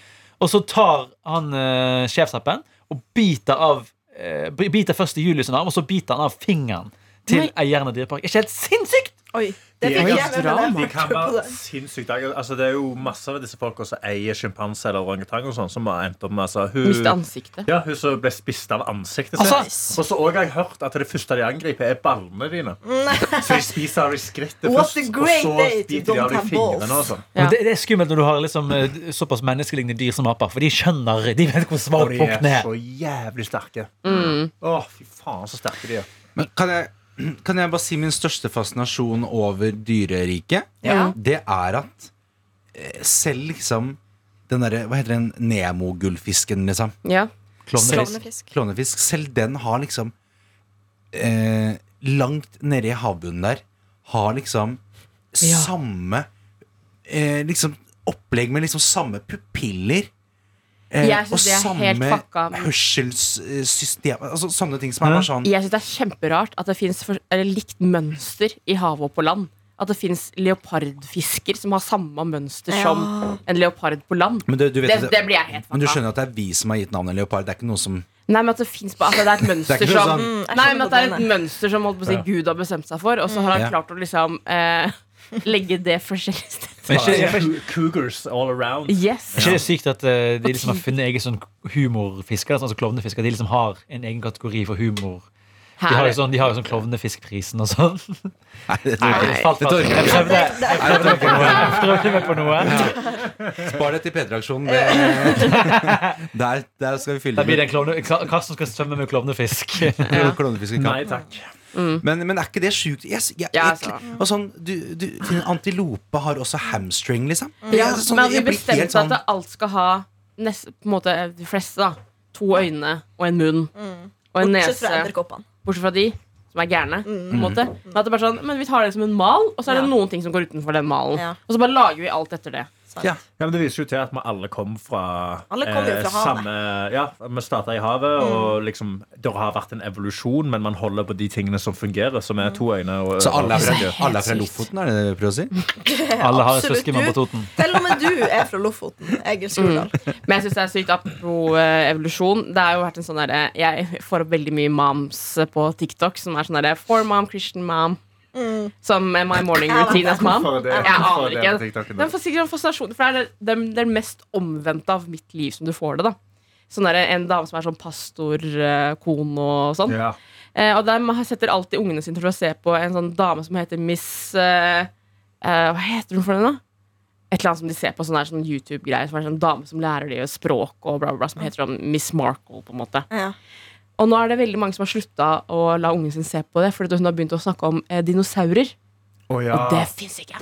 C: og så tar han eh, sjefsapen og biter av eh, biter først i Julius' sin arm, og så biter han av fingeren til
D: Nei.
C: eieren av dyreparken. Ikke helt sinnssykt!
E: Oi,
B: De
E: det fikk
B: er
E: jeg
B: ganske
E: med meg.
B: De
E: når jeg
B: kan
E: hørte på
B: være
E: det.
B: sinnssykt aggressive. altså, Det er jo masse av disse folka som eier sjimpanse eller orangutang og sånn, som har endt opp med altså,
D: Miste
B: hun,
D: ansiktet.
B: ja, hun som ble spist av ansiktet sitt.
C: Altså,
B: Og så også har jeg hørt at det første de angriper, er ballene dine. Så de spiser av de skrittet
E: What
B: først,
E: a
B: og
E: great
B: så
E: day to
B: biter de av de
E: don't have balls.
B: fingrene. Og sånn.
D: Ja.
C: men det, det er skummelt når du har liksom, eh, såpass menneskelignende dyr som aper, for de skjønner De vet hvor
B: Og
C: svak
B: de
C: punkten
B: er
C: er.
B: så jævlig sterke.
E: Mm.
B: Å, fy faen, så sterke de er.
F: Men kan jeg, kan jeg bare si min største fascinasjon over dyreriket?
E: Ja.
F: Det er at eh, selv liksom den derre Hva heter den Nemo-gullfisken, liksom?
D: Ja.
F: Klovnefisk.
E: Klovnefisk.
F: Klovnefisk. Selv den har liksom eh, Langt nede i havbunnen der har liksom samme eh, Liksom opplegg med liksom samme pupiller. eh,
D: Jeg synes
F: og
D: det er
F: samme
D: helt fucka.
F: hørselssystem altså, Sånne ting som er
B: Ja.
F: bare sånn
D: Jeg syns det er kjemperart at det fins likt mønster i havet og på land. At det fins leopardfisker som har samme mønster som en leopard på land.
F: men du, du vet
D: Det,
F: at
D: det blir jeg helt
F: men du
D: fucka.
F: skjønner at det er vi som har gitt navnet leopard? Det er ikke noe som
D: Nei, men at det finnes bare at det er et mønster
F: Det er ikke noe
D: som
F: sånn-
E: jeg
D: Nei,
E: skjønner
D: men at det er
E: hva du
D: et mønster som holdt på å si Gud har bestemt seg for, og så har han
F: Ja.
D: klart å liksom eh, legge det forskjellige steder.
C: Men ikke,
B: Det
C: er
B: er cou- Cougars all around.
D: Yes.
C: ikke det sykt at eh, de liksom har funnet egen sånn humorfisker? Sånn, altså klovnefisker De liksom har en egen kategori for humor. De har
D: Her.
C: jo sånn, de har jo sånn Klovnefiskprisen og sånn.
F: Nei, det
C: Nei,
F: tror jeg
C: det falt
F: Det
C: fast.
F: orker
C: Jeg prøvde,
D: (laughs)
C: jeg prøvde meg på noe. Jeg prøvde meg på noe.
F: ikke. Spar det til P3-aksjonen. det-
C: (laughs)
F: Der, der skal vi fylle
C: Da
F: det
C: blir
F: med
C: det en klovne, Karsten skal svømme med klovnefisk.
F: ja. klovnefisk.
B: Nei takk.
F: Men, men er ikke det sjukt? Yes, jeg,
D: Ja,
F: jeg,
D: altså.
F: og sånn, du, du, en antilope har også hamstring, liksom.
D: Mm. Ja,
F: Jeg- sånn,
D: men at vi
F: jeg blir
D: bestemte
F: helt sånn-
D: at alt skal ha nest, på en måte de fleste, da. To øyne og en munn og en
E: Mm. Bortsett fra
D: nese.
E: edderkoppene.
D: Bortsett fra de som er gærne. På en måte. Men at det bare er sånn, men vi tar det som en mal, og så er det
E: Mm. Ja.
D: noen ting som går utenfor den malen.
E: Ja.
D: Og så bare lager vi alt etter det.
E: sant.
F: Ja.
B: Ja, men Det viser jo til at vi alle kom fra eh,
E: Alle kom jo fra havet.
B: samme Ja, vi starta i havet, og liksom det har vært en evolusjon, men man holder på de tingene som fungerer, som er to øyne og
F: Så alle er fra,
B: og-
F: alle er fra Lofoten, er det det du prøver å si?
C: Alle har en
E: Absolutt,
C: søskenmann
E: du.
C: på Toten.
E: Selv om du er fra Lofoten. Jeg
D: Mm.
E: er Skurdal.
D: Men jeg synes det er sykt apropos eh, evolusjon. Det har jo vært en sånn derre- Jeg får opp veldig mye moms på TikTok som er sånn derre For mom, Christian mom.
E: Mm.
D: Som eh, my morning routine as mom.
B: Hvorfor er det-
D: Jeg
B: hvorfor er
D: aner
B: det på
D: ikke.
B: TikTok nå?
D: Den får sikkert en fascinasjon, for det er det- den, den mest omvendte av mitt liv som du får det. da Sånn derre En dame som er sånn pastorkone og sånn.
B: Ja.
D: Eh, og de setter alltid ungene sine til å se på en sånn dame som heter Miss eh, eh, Hva heter hun for den, da? Et eller annet som de ser på sånn, her sånn YouTube-greier. Som er sånn dame som lærer dem språk og bla, bla, bla. Som heter sånn Miss Markle, på en måte.
E: Ja.
D: Og nå er det veldig mange som har slutta å la ungen sin se på det, fordi hun har begynt å snakke om eh, dinosaurer.
B: Å ja.
D: Og det fins ikke!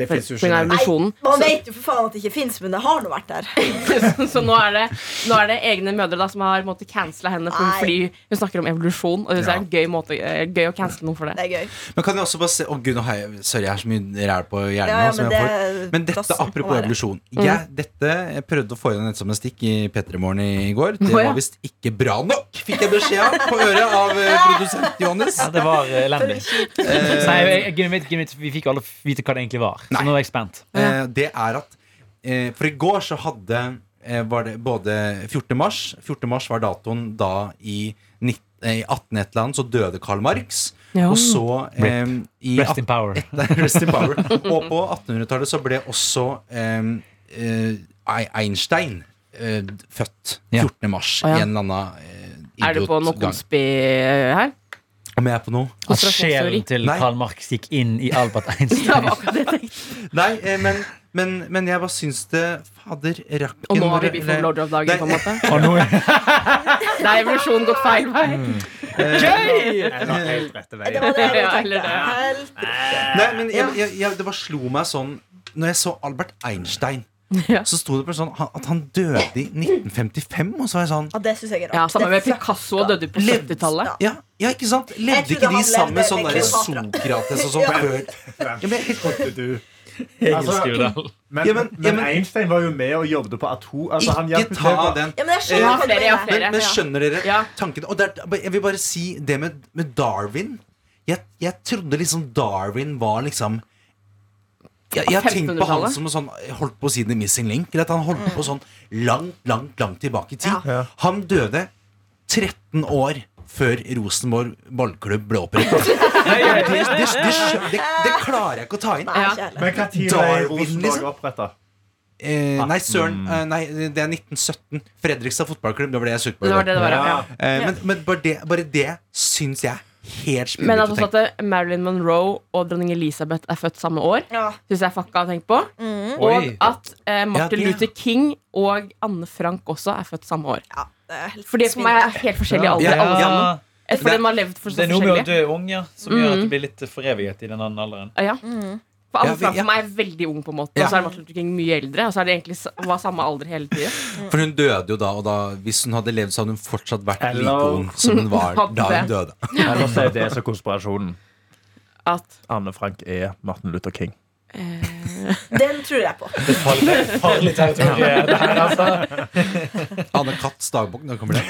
B: det
D: For,
B: finnes jo
D: for den
B: ikke.
D: evolusjonen.
E: Man vet jo for faen at det ikke fins, men det har nå vært der.
D: (laughs) så, så nå, er det, nå er det egne mødre da, som har cancela henne for,
E: Nei.
D: fordi hun snakker om evolusjon. Og det er en gøy, måte, eh, gøy å cancele noen for det.
E: Det er gøy.
F: Men kan jeg også bare se Å, gud, nå har jeg, sorry, jeg har så mye ræl på hjernen.
E: Ja, ja,
F: nå som
E: men
F: jeg
E: det
F: får.
E: er
F: men dette,
E: plassen å
F: apropos
E: være.
F: evolusjon. Jeg, dette, jeg prøvde å få inn et statistikk i P3 Morgen i går. Det
D: Å, ja.
F: var visst ikke bra nok, fikk jeg beskjed om på øret av eh, produsent Johannes. Eh,
C: Ja, det var eh, elendig. Nei, jeg- jeg- jeg- jeg- Vi fikk jo alle vite hva det egentlig var. Så nå er jeg spent.
F: Eh, det er at eh, For i går så hadde eh, Var det både 14. mars 14. mars var datoen da i, nitt- eh, i 18 et eller annet så døde Karl Marx.
D: Ja.
F: Og så eh, i
C: Rest in
F: at-
C: power.
F: (laughs) Rest in power. Og på 1800-tallet så ble også eh, eh, Einstein eh, født
C: Ja.
F: 14. mars
D: Å, ja.
F: i en eller annen eh,
D: Er du på noe
F: idiotgang.
D: konspi eh, her?
F: Om jeg er på noe?
C: At sjelen til
F: Nei.
C: Karl Marx gikk inn i
D: (laughs)
C: Albert
D: Ja,
C: Einstein.
D: det var akkurat det jeg tenkte.
F: Nei, eh, men, men, men jeg bare syns det Fader, rakken
D: Og nå
F: var-
D: har vi Before
F: eller-
D: Blowjob-dagen, på en måte.
C: Og nå
D: Det er evolusjonen gått feil vei.
F: Mm.
D: (laughs)
F: Eh,
B: Jeg var helt rette
E: Det
B: veien.
E: var det jeg
D: Ja, eller
E: tenkte. Helt
F: Nei, men jeg, jeg, jeg, det bare slo meg sånn Når jeg så Albert Einstein
D: (laughs) Ja.
F: Så sto det på sånn han- at han døde i 1955 Og så var jeg sånn
E: Ja, det syns jeg er
D: Ja,
E: rart.
D: Sammen med
E: Det er
D: Picasso og døde på 70-tallet.
F: ja, ja, ikke sant? Levde
E: trodde
F: ikke de
E: han
F: sammen med
E: levde
F: sånn
E: med
F: der
E: Kleopatra.
F: Sokrates og sånn
E: Ja.
F: før?
B: Du. Altså,
D: Altså,
C: Egil Skurdal.
B: Men,
F: Ja, men-
B: men,
F: ja, men-
B: Einstein var jo med og jobbet på atom... Altså, han hjalp
F: Ikke ta
B: til-
F: den
E: Ja, men jeg skjønner
F: Ja,
E: hva du
D: flere, ja,
E: mener.
F: men,
D: flere.
F: men skjønner dere
D: Ja.
F: tanken? Og det er, bare- jeg vil bare si det med, med Darwin jeg, jeg trodde liksom Darwin var liksom jeg, jeg har tenkt på han
D: 1500-tallet?
F: som en sånn holdt på siden i Missing Link. eller At han holdt
D: Mm.
F: på sånn langt, langt, langt tilbake i tid.
E: Ja.
B: Ja.
F: Han døde 13 år før Rosenborg ballklubb ble opprettet.
D: (laughs)
F: det, det, det, skjø- det, det klarer jeg ikke å ta inn.
E: Nei,
D: Ja.
E: ikke heller.
B: Men hva tid ble
F: Darwin,
B: Rosenborg
F: liksom?
B: oppretta?
F: Eh,
D: Ah.
F: nei, søren. eh, nei, det er 1917. Fredrikstad fotballklubb. Det var det jeg søkte på. i
D: Det var
F: går.
D: det det var, ja.
F: Eh, men men bare, det, bare det syns jeg er helt
D: Men
F: spinnvilt
D: at
F: å
D: også
F: tenke.
D: at eh, Marilyn Monroe og dronning Elizabeth er født samme år,
E: Ja.
D: syns jeg fucka å tenke på. Mm. Og
C: Oi.
D: at eh, Martin
F: Ja, det-
D: Luther King og Anne Frank også er født samme år.
E: Ja, det er helt
D: For de for meg er helt forskjellige
F: Ja,
D: alder,
F: ja,
D: alle
F: ja.
D: sammen. Eh, Fordi
F: Det-
D: de har levd for
C: Det
D: så
C: er noe med å
D: forskjellig.
C: dø ung ja, som gjør
D: Mm.
C: at det blir litt foreviget i den andre alderen.
D: Ja. For
F: Ja,
D: Anne
F: vi-
D: Frank
F: ja.
D: for meg er veldig ung, på en måte,
F: Ja.
D: og så er Martin Luther King mye eldre. Og så er de egentlig s- var samme alder hele tiden.
F: For hun døde jo da, og da hvis hun hadde levd, så hadde hun fortsatt vært like
B: Hello.
F: ung som hun var
D: (laughs) Hadde.
F: da hun døde.
B: Ellers er det så konspirasjonen.
D: At
B: Anne Frank er Martin Luther King.
D: eh,
E: Den tror jeg på.
C: Farlig territorium. (laughs) Det her, altså.
F: Anne Katts dagbok. Når kommer det?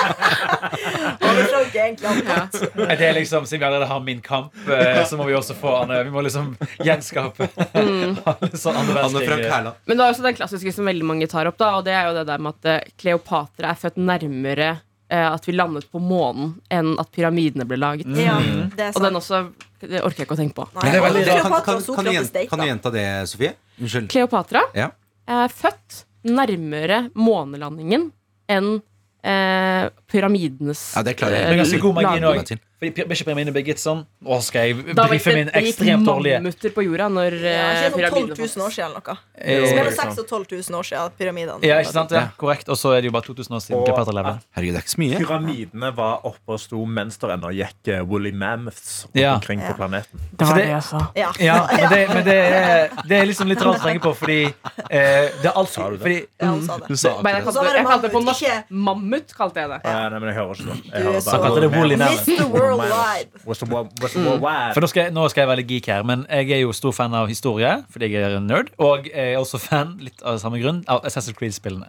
E: Og det tror jeg ikke egentlig han kan.
C: Det er liksom, Siden vi allerede har Min kamp, eh, så må vi også få Anne. Vi må liksom
D: (laughs)
C: gjenskape
D: Mm.
C: alle sånn andre
F: Anne Frank
C: verdenskrig.
F: Herland.
D: Men det er også den klassiske som veldig mange tar opp, da, og det er jo det der med at eh, Kleopatra er født nærmere eh, at vi landet på månen, enn at pyramidene ble
F: Mm.
D: laget.
E: Ja, det er
D: Mm. Og den
E: sant.
D: også det orker jeg ikke å tenke på.
E: Nei,
F: Det er veldig rart.
E: Kleopatra
F: Kan,
E: og
F: kan, kan, du
E: Sokrates
F: gjenta,
E: date,
F: kan
E: da.
F: du gjenta det, Sofie? Unnskyld.
D: Kleopatra
F: Ja.
D: er født nærmere månelandingen enn eh, pyramidenes eh,
F: Ja, det klarer jeg.
C: Det er ganske god margin
D: laging.
F: Lag-
C: òg. Ikke Benjamin Birgitsen. Å, skal jeg
D: Da var det,
C: brife min
D: det gikk
C: ekstremt dårlige
D: mammuter på jorda når
E: Ja,
D: eh,
E: ikke sånn 12
D: pyramidene
E: 000 år siden eller noe.
C: Eh,
E: Så Mellom
C: liksom.
E: 6 og 12 000 år siden pyramidene.
C: Ja, ikke sant? Ja, korrekt. Og så er det jo bare 2000 år siden
B: Og
C: Kleopatra levde.
B: at
F: Herregud, det er ikke så mye.
B: pyramidene var oppe og sto mens det ennå gikk eh, woolly mammoths rundt
C: Ja.
B: omkring på planeten.
C: Så det-
E: Ja.
C: (laughs) Ja, men, det, men det, er, det er liksom litt rart å tenke på, fordi eh, det er alt
B: Sa du det?
C: fordi,
E: Ja, han sa det.
F: Mm. Du sa
D: Men jeg
F: akkurat
D: kalte,
E: Så var
D: det,
E: det
D: jeg kalte det på
E: mammut,
D: norsk
E: ikke-
D: mammut. kalte jeg det
B: Eh, nei, men jeg hører ikke noe.
E: Du
B: Jeg
E: er
B: hører
E: så-
C: kalte det woolly mammoth.
E: Mr. Worldwide.
B: Was the wo- was the worldwide.
C: for nå skal, jeg, nå skal jeg være litt geek her, men jeg er jo stor fan av historie, fordi jeg er en nerd. Og jeg er også fan, litt av samme grunn, av Assassin's Creed-spillene.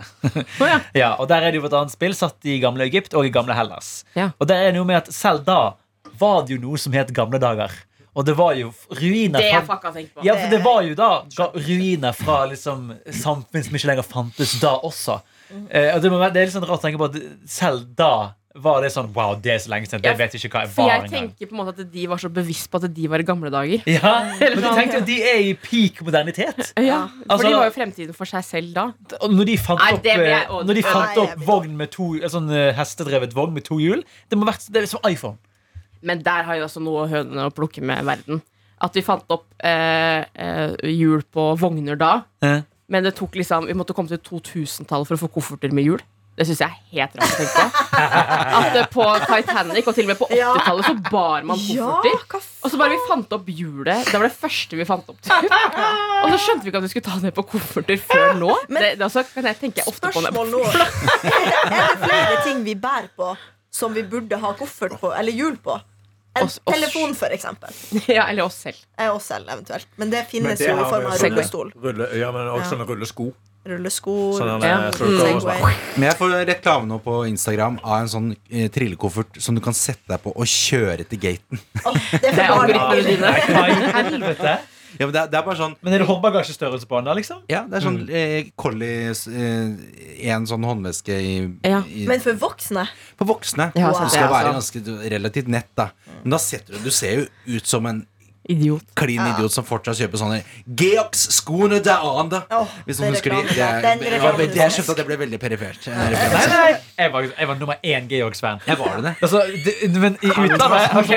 D: Å, ja.
C: Ja, og Der er det jo et annet spill satt i gamle Egypt og i gamle Hellas.
D: Ja.
C: Og der er det jo med at Selv da var det jo noe som het gamle dager. Og det var jo ruiner
D: Det
C: fra
D: jeg fucka tenkt på.
C: Ja, for det var jo da ga- ruiner fra liksom, samfunn som ikke lenger fantes da også. Eh, og det, må være, det er litt sånn rart å tenke på at selv da var det sånn Wow, det er så lenge siden. Det
D: Ja,
C: vet jeg ikke hva jeg
D: For
C: var
D: jeg
C: engang.
D: tenker på en måte at de var så bevisst på at de var i gamle dager.
C: Ja, men de tenkte jo at de er i peak modernitet.
D: Ja, For
C: Altså-
D: de var jo fremtiden for seg selv da.
C: Og når de fant
D: Nei,
C: opp,
D: det blir jeg
C: eh,
D: overrasket.
C: når de fant
E: Nei, jeg
C: opp
E: blir-
C: vogn med to, en sånn eh, hestedrevet vogn med to hjul Det må ha vært det er som iPhone.
D: Men der har jo også noe hønene å plukke med verden. At vi fant opp eh, eh, hjul på vogner da.
C: Eh.
D: Men det tok liksom, vi måtte komme til 2000-tallet for å få kofferter med hjul. Det syns jeg er helt rart å tenke
E: (laughs)
D: på. At eh, på Titanic og til og med på
E: Ja.
D: 80-tallet så bar man
E: Ja,
D: kofferter.
E: hva
D: Og så bare vi fant opp hjulet. Det var det første vi fant opp. Typ. Og så skjønte vi ikke at vi skulle ta det på kofferter før nå.
E: Men-
D: det, det også kan jeg tenke ofte på det.
E: Spørsmål
F: (laughs)
E: nå. Er det flere ting vi bærer på som vi burde ha koffert på eller hjul på? En
D: Oss- oss-
E: telefon, for eksempel.
D: (laughs) Ja, eller oss selv.
E: Eh, Oss selv, eventuelt. Men det
B: Men
E: finnes
B: det
E: jo i
B: har
E: form
B: vi
E: av
B: sånne
E: rullestol.
B: Rulle, ja, men også
E: Ja.
B: sånne rullesko.
E: Rullesko,
B: Sånn,
D: Ja.
B: eh, så du går og
E: Segway.
B: sånn.
F: Men jeg får reklame nå på Instagram av en sånn eh, trillekoffert som du kan sette deg på og kjøre til gaten.
E: Åh, det er
D: Det er
E: for barn.
D: algoritmene dine.
C: Hva i helvete?
F: Ja, men det, er- det er bare sånn
C: Men er det håndbagasjestørrelse på den da, liksom?
F: ja, det er sånn
E: Mm.
F: eh, collie eh, En sånn håndveske i,
D: Ja.
F: i
E: Men for voksne
F: På voksne.
D: Ja,
F: Du
D: sant,
F: skal
D: det,
F: være
D: altså.
F: ganske du- relativt nett, da. Men da setter du Du ser jo ut som en
D: Idiot.
F: klin idiot som fortsatt kjøper sånne Geox-skoene der an, da.
E: Åh,
F: Hvis
E: det
F: noen
E: er
F: husker de.
E: reklame.
F: Det, er-
E: Den
F: det,
E: reklamen
F: var- det, jeg
E: du
F: skjønte at det ble veldig perifert. eh, referanse.
C: Nei, nei, jeg var, jeg var nummer én Georgs-fan.
F: Jeg var det det.
C: Altså, det- men i utlandet ok,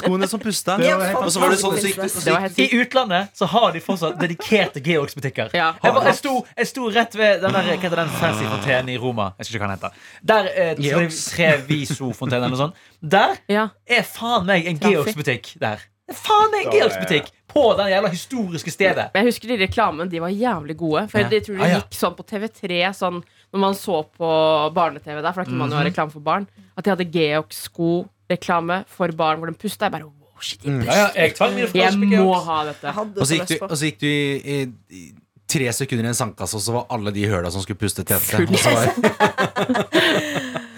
F: Skoene som pusta.
E: Det var helt
F: Og så var det sånn så
E: fantastisk
F: gikk du- så
D: Det
F: gikk
D: var helt
C: I
D: sykt.
C: utlandet så har de fortsatt dedikerte Georgs-butikker.
D: Ja.
C: Jeg, var- jeg, sto- jeg sto rett ved den der, hva heter den fancy fontenen i Roma. Jeg husker ikke hva den heter. Der eh, tre,
F: Georgs.
C: Treviso-fontenen eller noe sånt. Der
D: Ja.
C: er faen meg en Georgs-butikk der. Det er faen meg en Georgs-butikk på den jævla historiske stedet.
D: Men jeg husker de reklamene, de var jævlig gode. For
C: Ja.
D: jeg tror
C: Ah,
D: det
C: ja.
D: gikk sånn på TV3, sånn når man så på barne-TV der, for da kunne man jo ha
C: Mhm.
D: reklame for barn, at de hadde Geox-sko-reklame for barn hvor de pusta. Jeg bare wow, shit, de
C: Ja, ja, jeg tvang mine
D: Jeg
C: foreldre på
D: må
C: Georgs.
D: ha dette.
E: hadde
F: Og så
E: så
F: gikk
E: lyst
F: du,
E: på.
F: og så gikk du i, i, i tre sekunder i en sandkasse, og så var alle de høla som skulle puste, tette.
D: Full
F: Og så var... (laughs)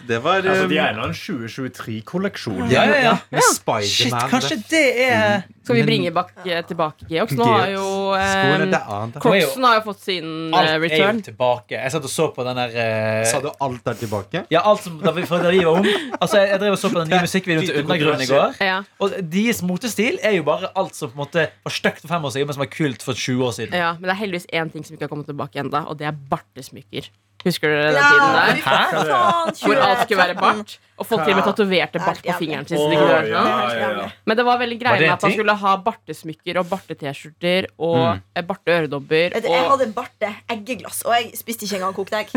F: Så det var
B: Altså, de
F: um,
B: er ennå en 2023-kolleksjon.
F: ja, ja, ja. Med
C: Shit,
F: Spiderman.
C: kanskje det er
D: Skal vi
F: Men-
D: bringe bak, eh, tilbake Geox? Nå har jo
F: Skoene,
D: eh,
F: det er annet.
C: Kom-
D: Crocsen har jo fått sin eh,
C: Alt er jo
D: return.
C: tilbake. Jeg satt og så på den der eh,
F: Sa du alt der tilbake?
C: Ja, alt som da vi, fra da vi var ung. Altså, jeg, jeg drev og så (laughs) på den nye musikkvideoen til Undergrunnen i går.
D: Ja.
C: Og deres motestil er jo bare alt som på en måte var stygt for fem år siden, men som var kult for 20 år siden.
D: Ja, men det er heldigvis én ting som ikke har kommet tilbake enda og det er bartesmykker. Husker dere den
E: Ja,
D: tiden der?
E: fy faen,
D: Hvor alt skulle være
E: 2013.
D: bart. Og folk til og med tatoverte bart på
E: Ja.
D: fingeren sin. Så
B: Åh,
D: de kunne sånn.
B: ja,
D: gjøre det.
B: ja, ja.
D: Men det var veldig
C: Var
D: greia med
C: det en
D: at man
C: ting? Mm.
D: skulle ha bartesmykker og barte-T-skjorter og eh, barte-øredobber.
E: Vet du, Jeg
D: Og,
E: hadde barte eggeglass, og jeg spiste ikke engang
D: (laughs)
E: kokt egg.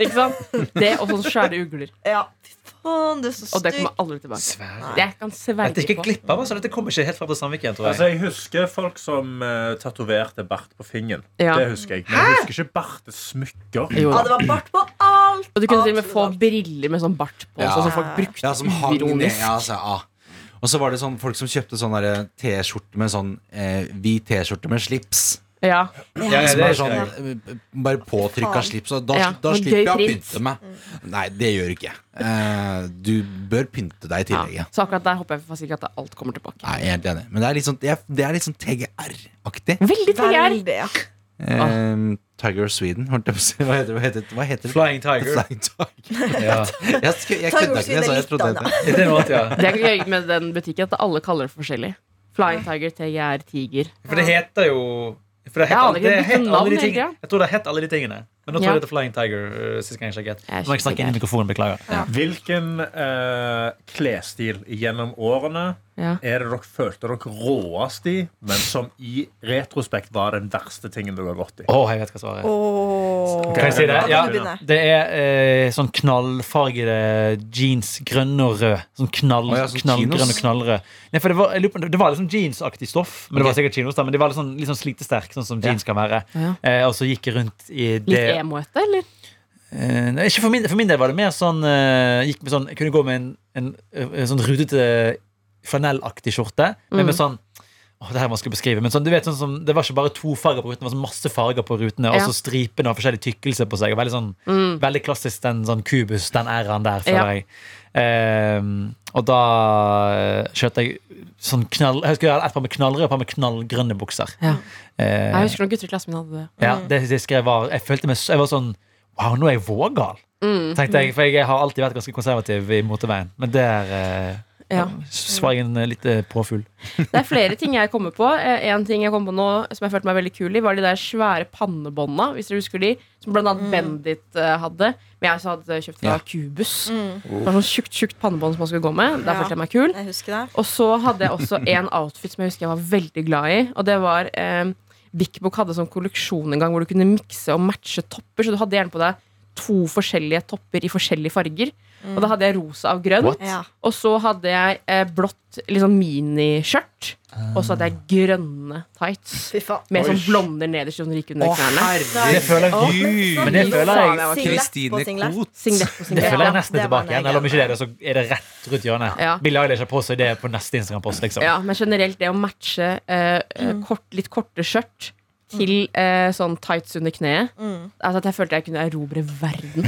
D: ikke sant? Det og sånne svære ugler.
E: Ja, fy faen, du er så
D: Og det
E: stygg.
D: kommer aldri tilbake.
C: Svære.
D: Det jeg kan
C: Dette er
D: sverge
C: ikke
D: på.
C: glipp av, altså. Dette kommer ikke helt fra Sandviken, tror
B: Altså,
C: jeg.
B: jeg husker folk som uh, tatoverte bart på fingeren.
D: Ja.
B: Det husker jeg. Men jeg husker ikke bartesmykker.
D: Jo.
E: Ja, det var bart på alt.
D: Og du kunne til og
E: Absolutt
D: med få
E: alt.
D: briller med sånn bart på,
F: Ja.
D: sånn som folk brukte
F: Ja, som hang ned.
D: Ironisk.
F: Ja, altså, ja. Og så var det sånn folk som kjøpte sånn der T-skjorte med sånn eh, hvit T-skjorte med slips.
D: Ja.
B: Ja, ja,
F: Som
B: det
F: er
B: husker
F: sånn
B: jeg.
F: eh, bare påtrykka
E: Faen.
F: slips. Og da,
D: Ja,
F: da
D: men
F: slipper
D: gøy
F: jeg å
D: print.
F: pynte meg. Nei, det gjør ikke jeg. Eh, du bør pynte deg i tillegg.
D: ja.
F: Ja.
D: Så akkurat der håper jeg for sikkert at alt kommer tilbake.
F: Nei, jeg er helt enig. Men det er litt sånn, det er, det er litt sånn TGR-aktig.
D: Veldig TGR!
E: Veldig, ja. Ah.
F: Eh, Tiger of Sweden, holdt jeg på å si. Hva heter, hva heter, hva heter det?
C: Flying Tiger.
F: (laughs) Flying Tiger.
C: Ja.
F: Jeg, sku- jeg
E: Tiger of
F: kødda ikke, jeg
E: Sweden
F: sa
E: er
F: jeg trodde
E: litt
F: det. het det.
C: Det er noe annet, ja.
D: Det er ikke gøy med den butikken at alle kaller det forskjellig. Flying Tiger, TGR, Tiger.
C: For det heter jo for det
D: Jeg
C: het,
D: aner
C: alle-
D: ikke,
C: det
D: bytte
C: het alle
D: navn
C: de
D: hele
C: tingene.
D: tida.
C: Jeg tror det het alle de tingene. Men nå tror
D: Ja.
C: jeg det heter Flying Tiger. Uh, sist gang jeg sjekket
D: Jeg
C: Nå må jeg snakke inn i mikrofonen, beklager.
B: Hvilken eh, klesstil gjennom årene
D: Ja.
B: er det dere følte dere råest i, men som i retrospekt var den verste tingen dere har gått i?
C: Å, jeg vet hva svaret er.
E: Åh.
C: Kan jeg si det?
E: Kan du
C: Ja.
E: begynne?
C: Det er eh, sånn knallfargede jeans. Grønn og rød. Sånn knall,
F: Å ja, sånn
C: knallgrønn
F: chinos.
C: og knallrød. Nei, for det var, jeg lurer på- det var liksom jeansaktig stoff, men det var
F: Ok.
C: sikkert chinos. da Men de var litt sånn, litt sånn slitesterk, sånn som jeans kan være.
D: Ja.
C: Eh, og så gikk jeg rundt i
D: Litt
C: det
D: emoete, eller?
C: Eh, nei, ikke for, min, for min del var det mer sånn, eh, gikk med sånn Jeg kunne gå med en, en, eh, sånn rutete flanellaktig skjorte.
D: Mm.
C: Men med sånn Åh, det her er vanskelig å beskrive. Men sånn, du vet, sånn som, det var ikke bare to farger på ruten, det var sånn masse farger på rutene.
D: Ja. Mm.
C: Og så stripene har forskjellig tykkelse på seg. Og veldig, sånn, veldig klassisk den sånn kubus, den æraen der,
D: Ja.
C: føler jeg. Ehm, og da eh, kjørte jeg sånn knall Jeg husker jeg hadde et par med knallrøde og et par med knallgrønne bukser.
D: Ja.
C: Eh,
D: Jeg husker noen gutter i klassen min hadde det.
C: ja, det det skrev jeg var Jeg følte meg så- Jeg var sånn Wow, nå er jeg vågal Tenkte jeg For jeg har alltid vært ganske konservativ I motorveien Men der eh,
D: Ja.
C: Svarer jeg en eh, litt eh, påfull
D: Det er flere ting jeg kommer på. Eh, En ting jeg kom på nå som jeg følte meg veldig kul i, var de der svære pannebånda, hvis dere husker de, som blant annet Bendit eh, hadde. Men jeg også hadde kjøpt fra
F: Ja.
D: Cubus. Det var sånn tjukt, tjukt pannebånd som man skulle gå med. Der
E: Ja.
D: følte jeg meg kul.
E: Jeg husker det.
D: Og så hadde jeg også en outfit som jeg husker jeg var veldig glad i. Og det var eh, Big Book hadde sånn kolleksjon en gang hvor du kunne mikse og matche topper. Så du hadde gjerne på deg to forskjellige topper i forskjellige farger. Og da hadde jeg rosa av grønn.
E: Ja.
D: Og så hadde jeg eh, blått litt sånn miniskjørt. Og så hadde jeg grønne tights.
E: Fy faen.
D: Med sånn blonder nederst som gikk under knærne.
F: herregud.
C: Det føler
D: Å,
C: jeg Men det føler
D: faen,
C: jeg
D: jeg var kul.
F: Kristine
E: Singlet på
F: Koht.
D: Singlet på
C: Det
D: singlet.
C: føler jeg
E: Ja,
C: nesten
E: det var
C: tilbake
E: meg
C: igjen Eller om
E: igjen.
C: ikke det er det Så er det rett rundt hjørnet
D: Ja.
C: Billy Eilish har på seg det På neste Instagram-post liksom
D: Ja, men generelt det å matche eh, eh,
E: Mm.
D: kort, litt korte skjørt til eh, sånn tights under kneet.
E: Mm.
D: Altså at Jeg følte jeg kunne erobre verden.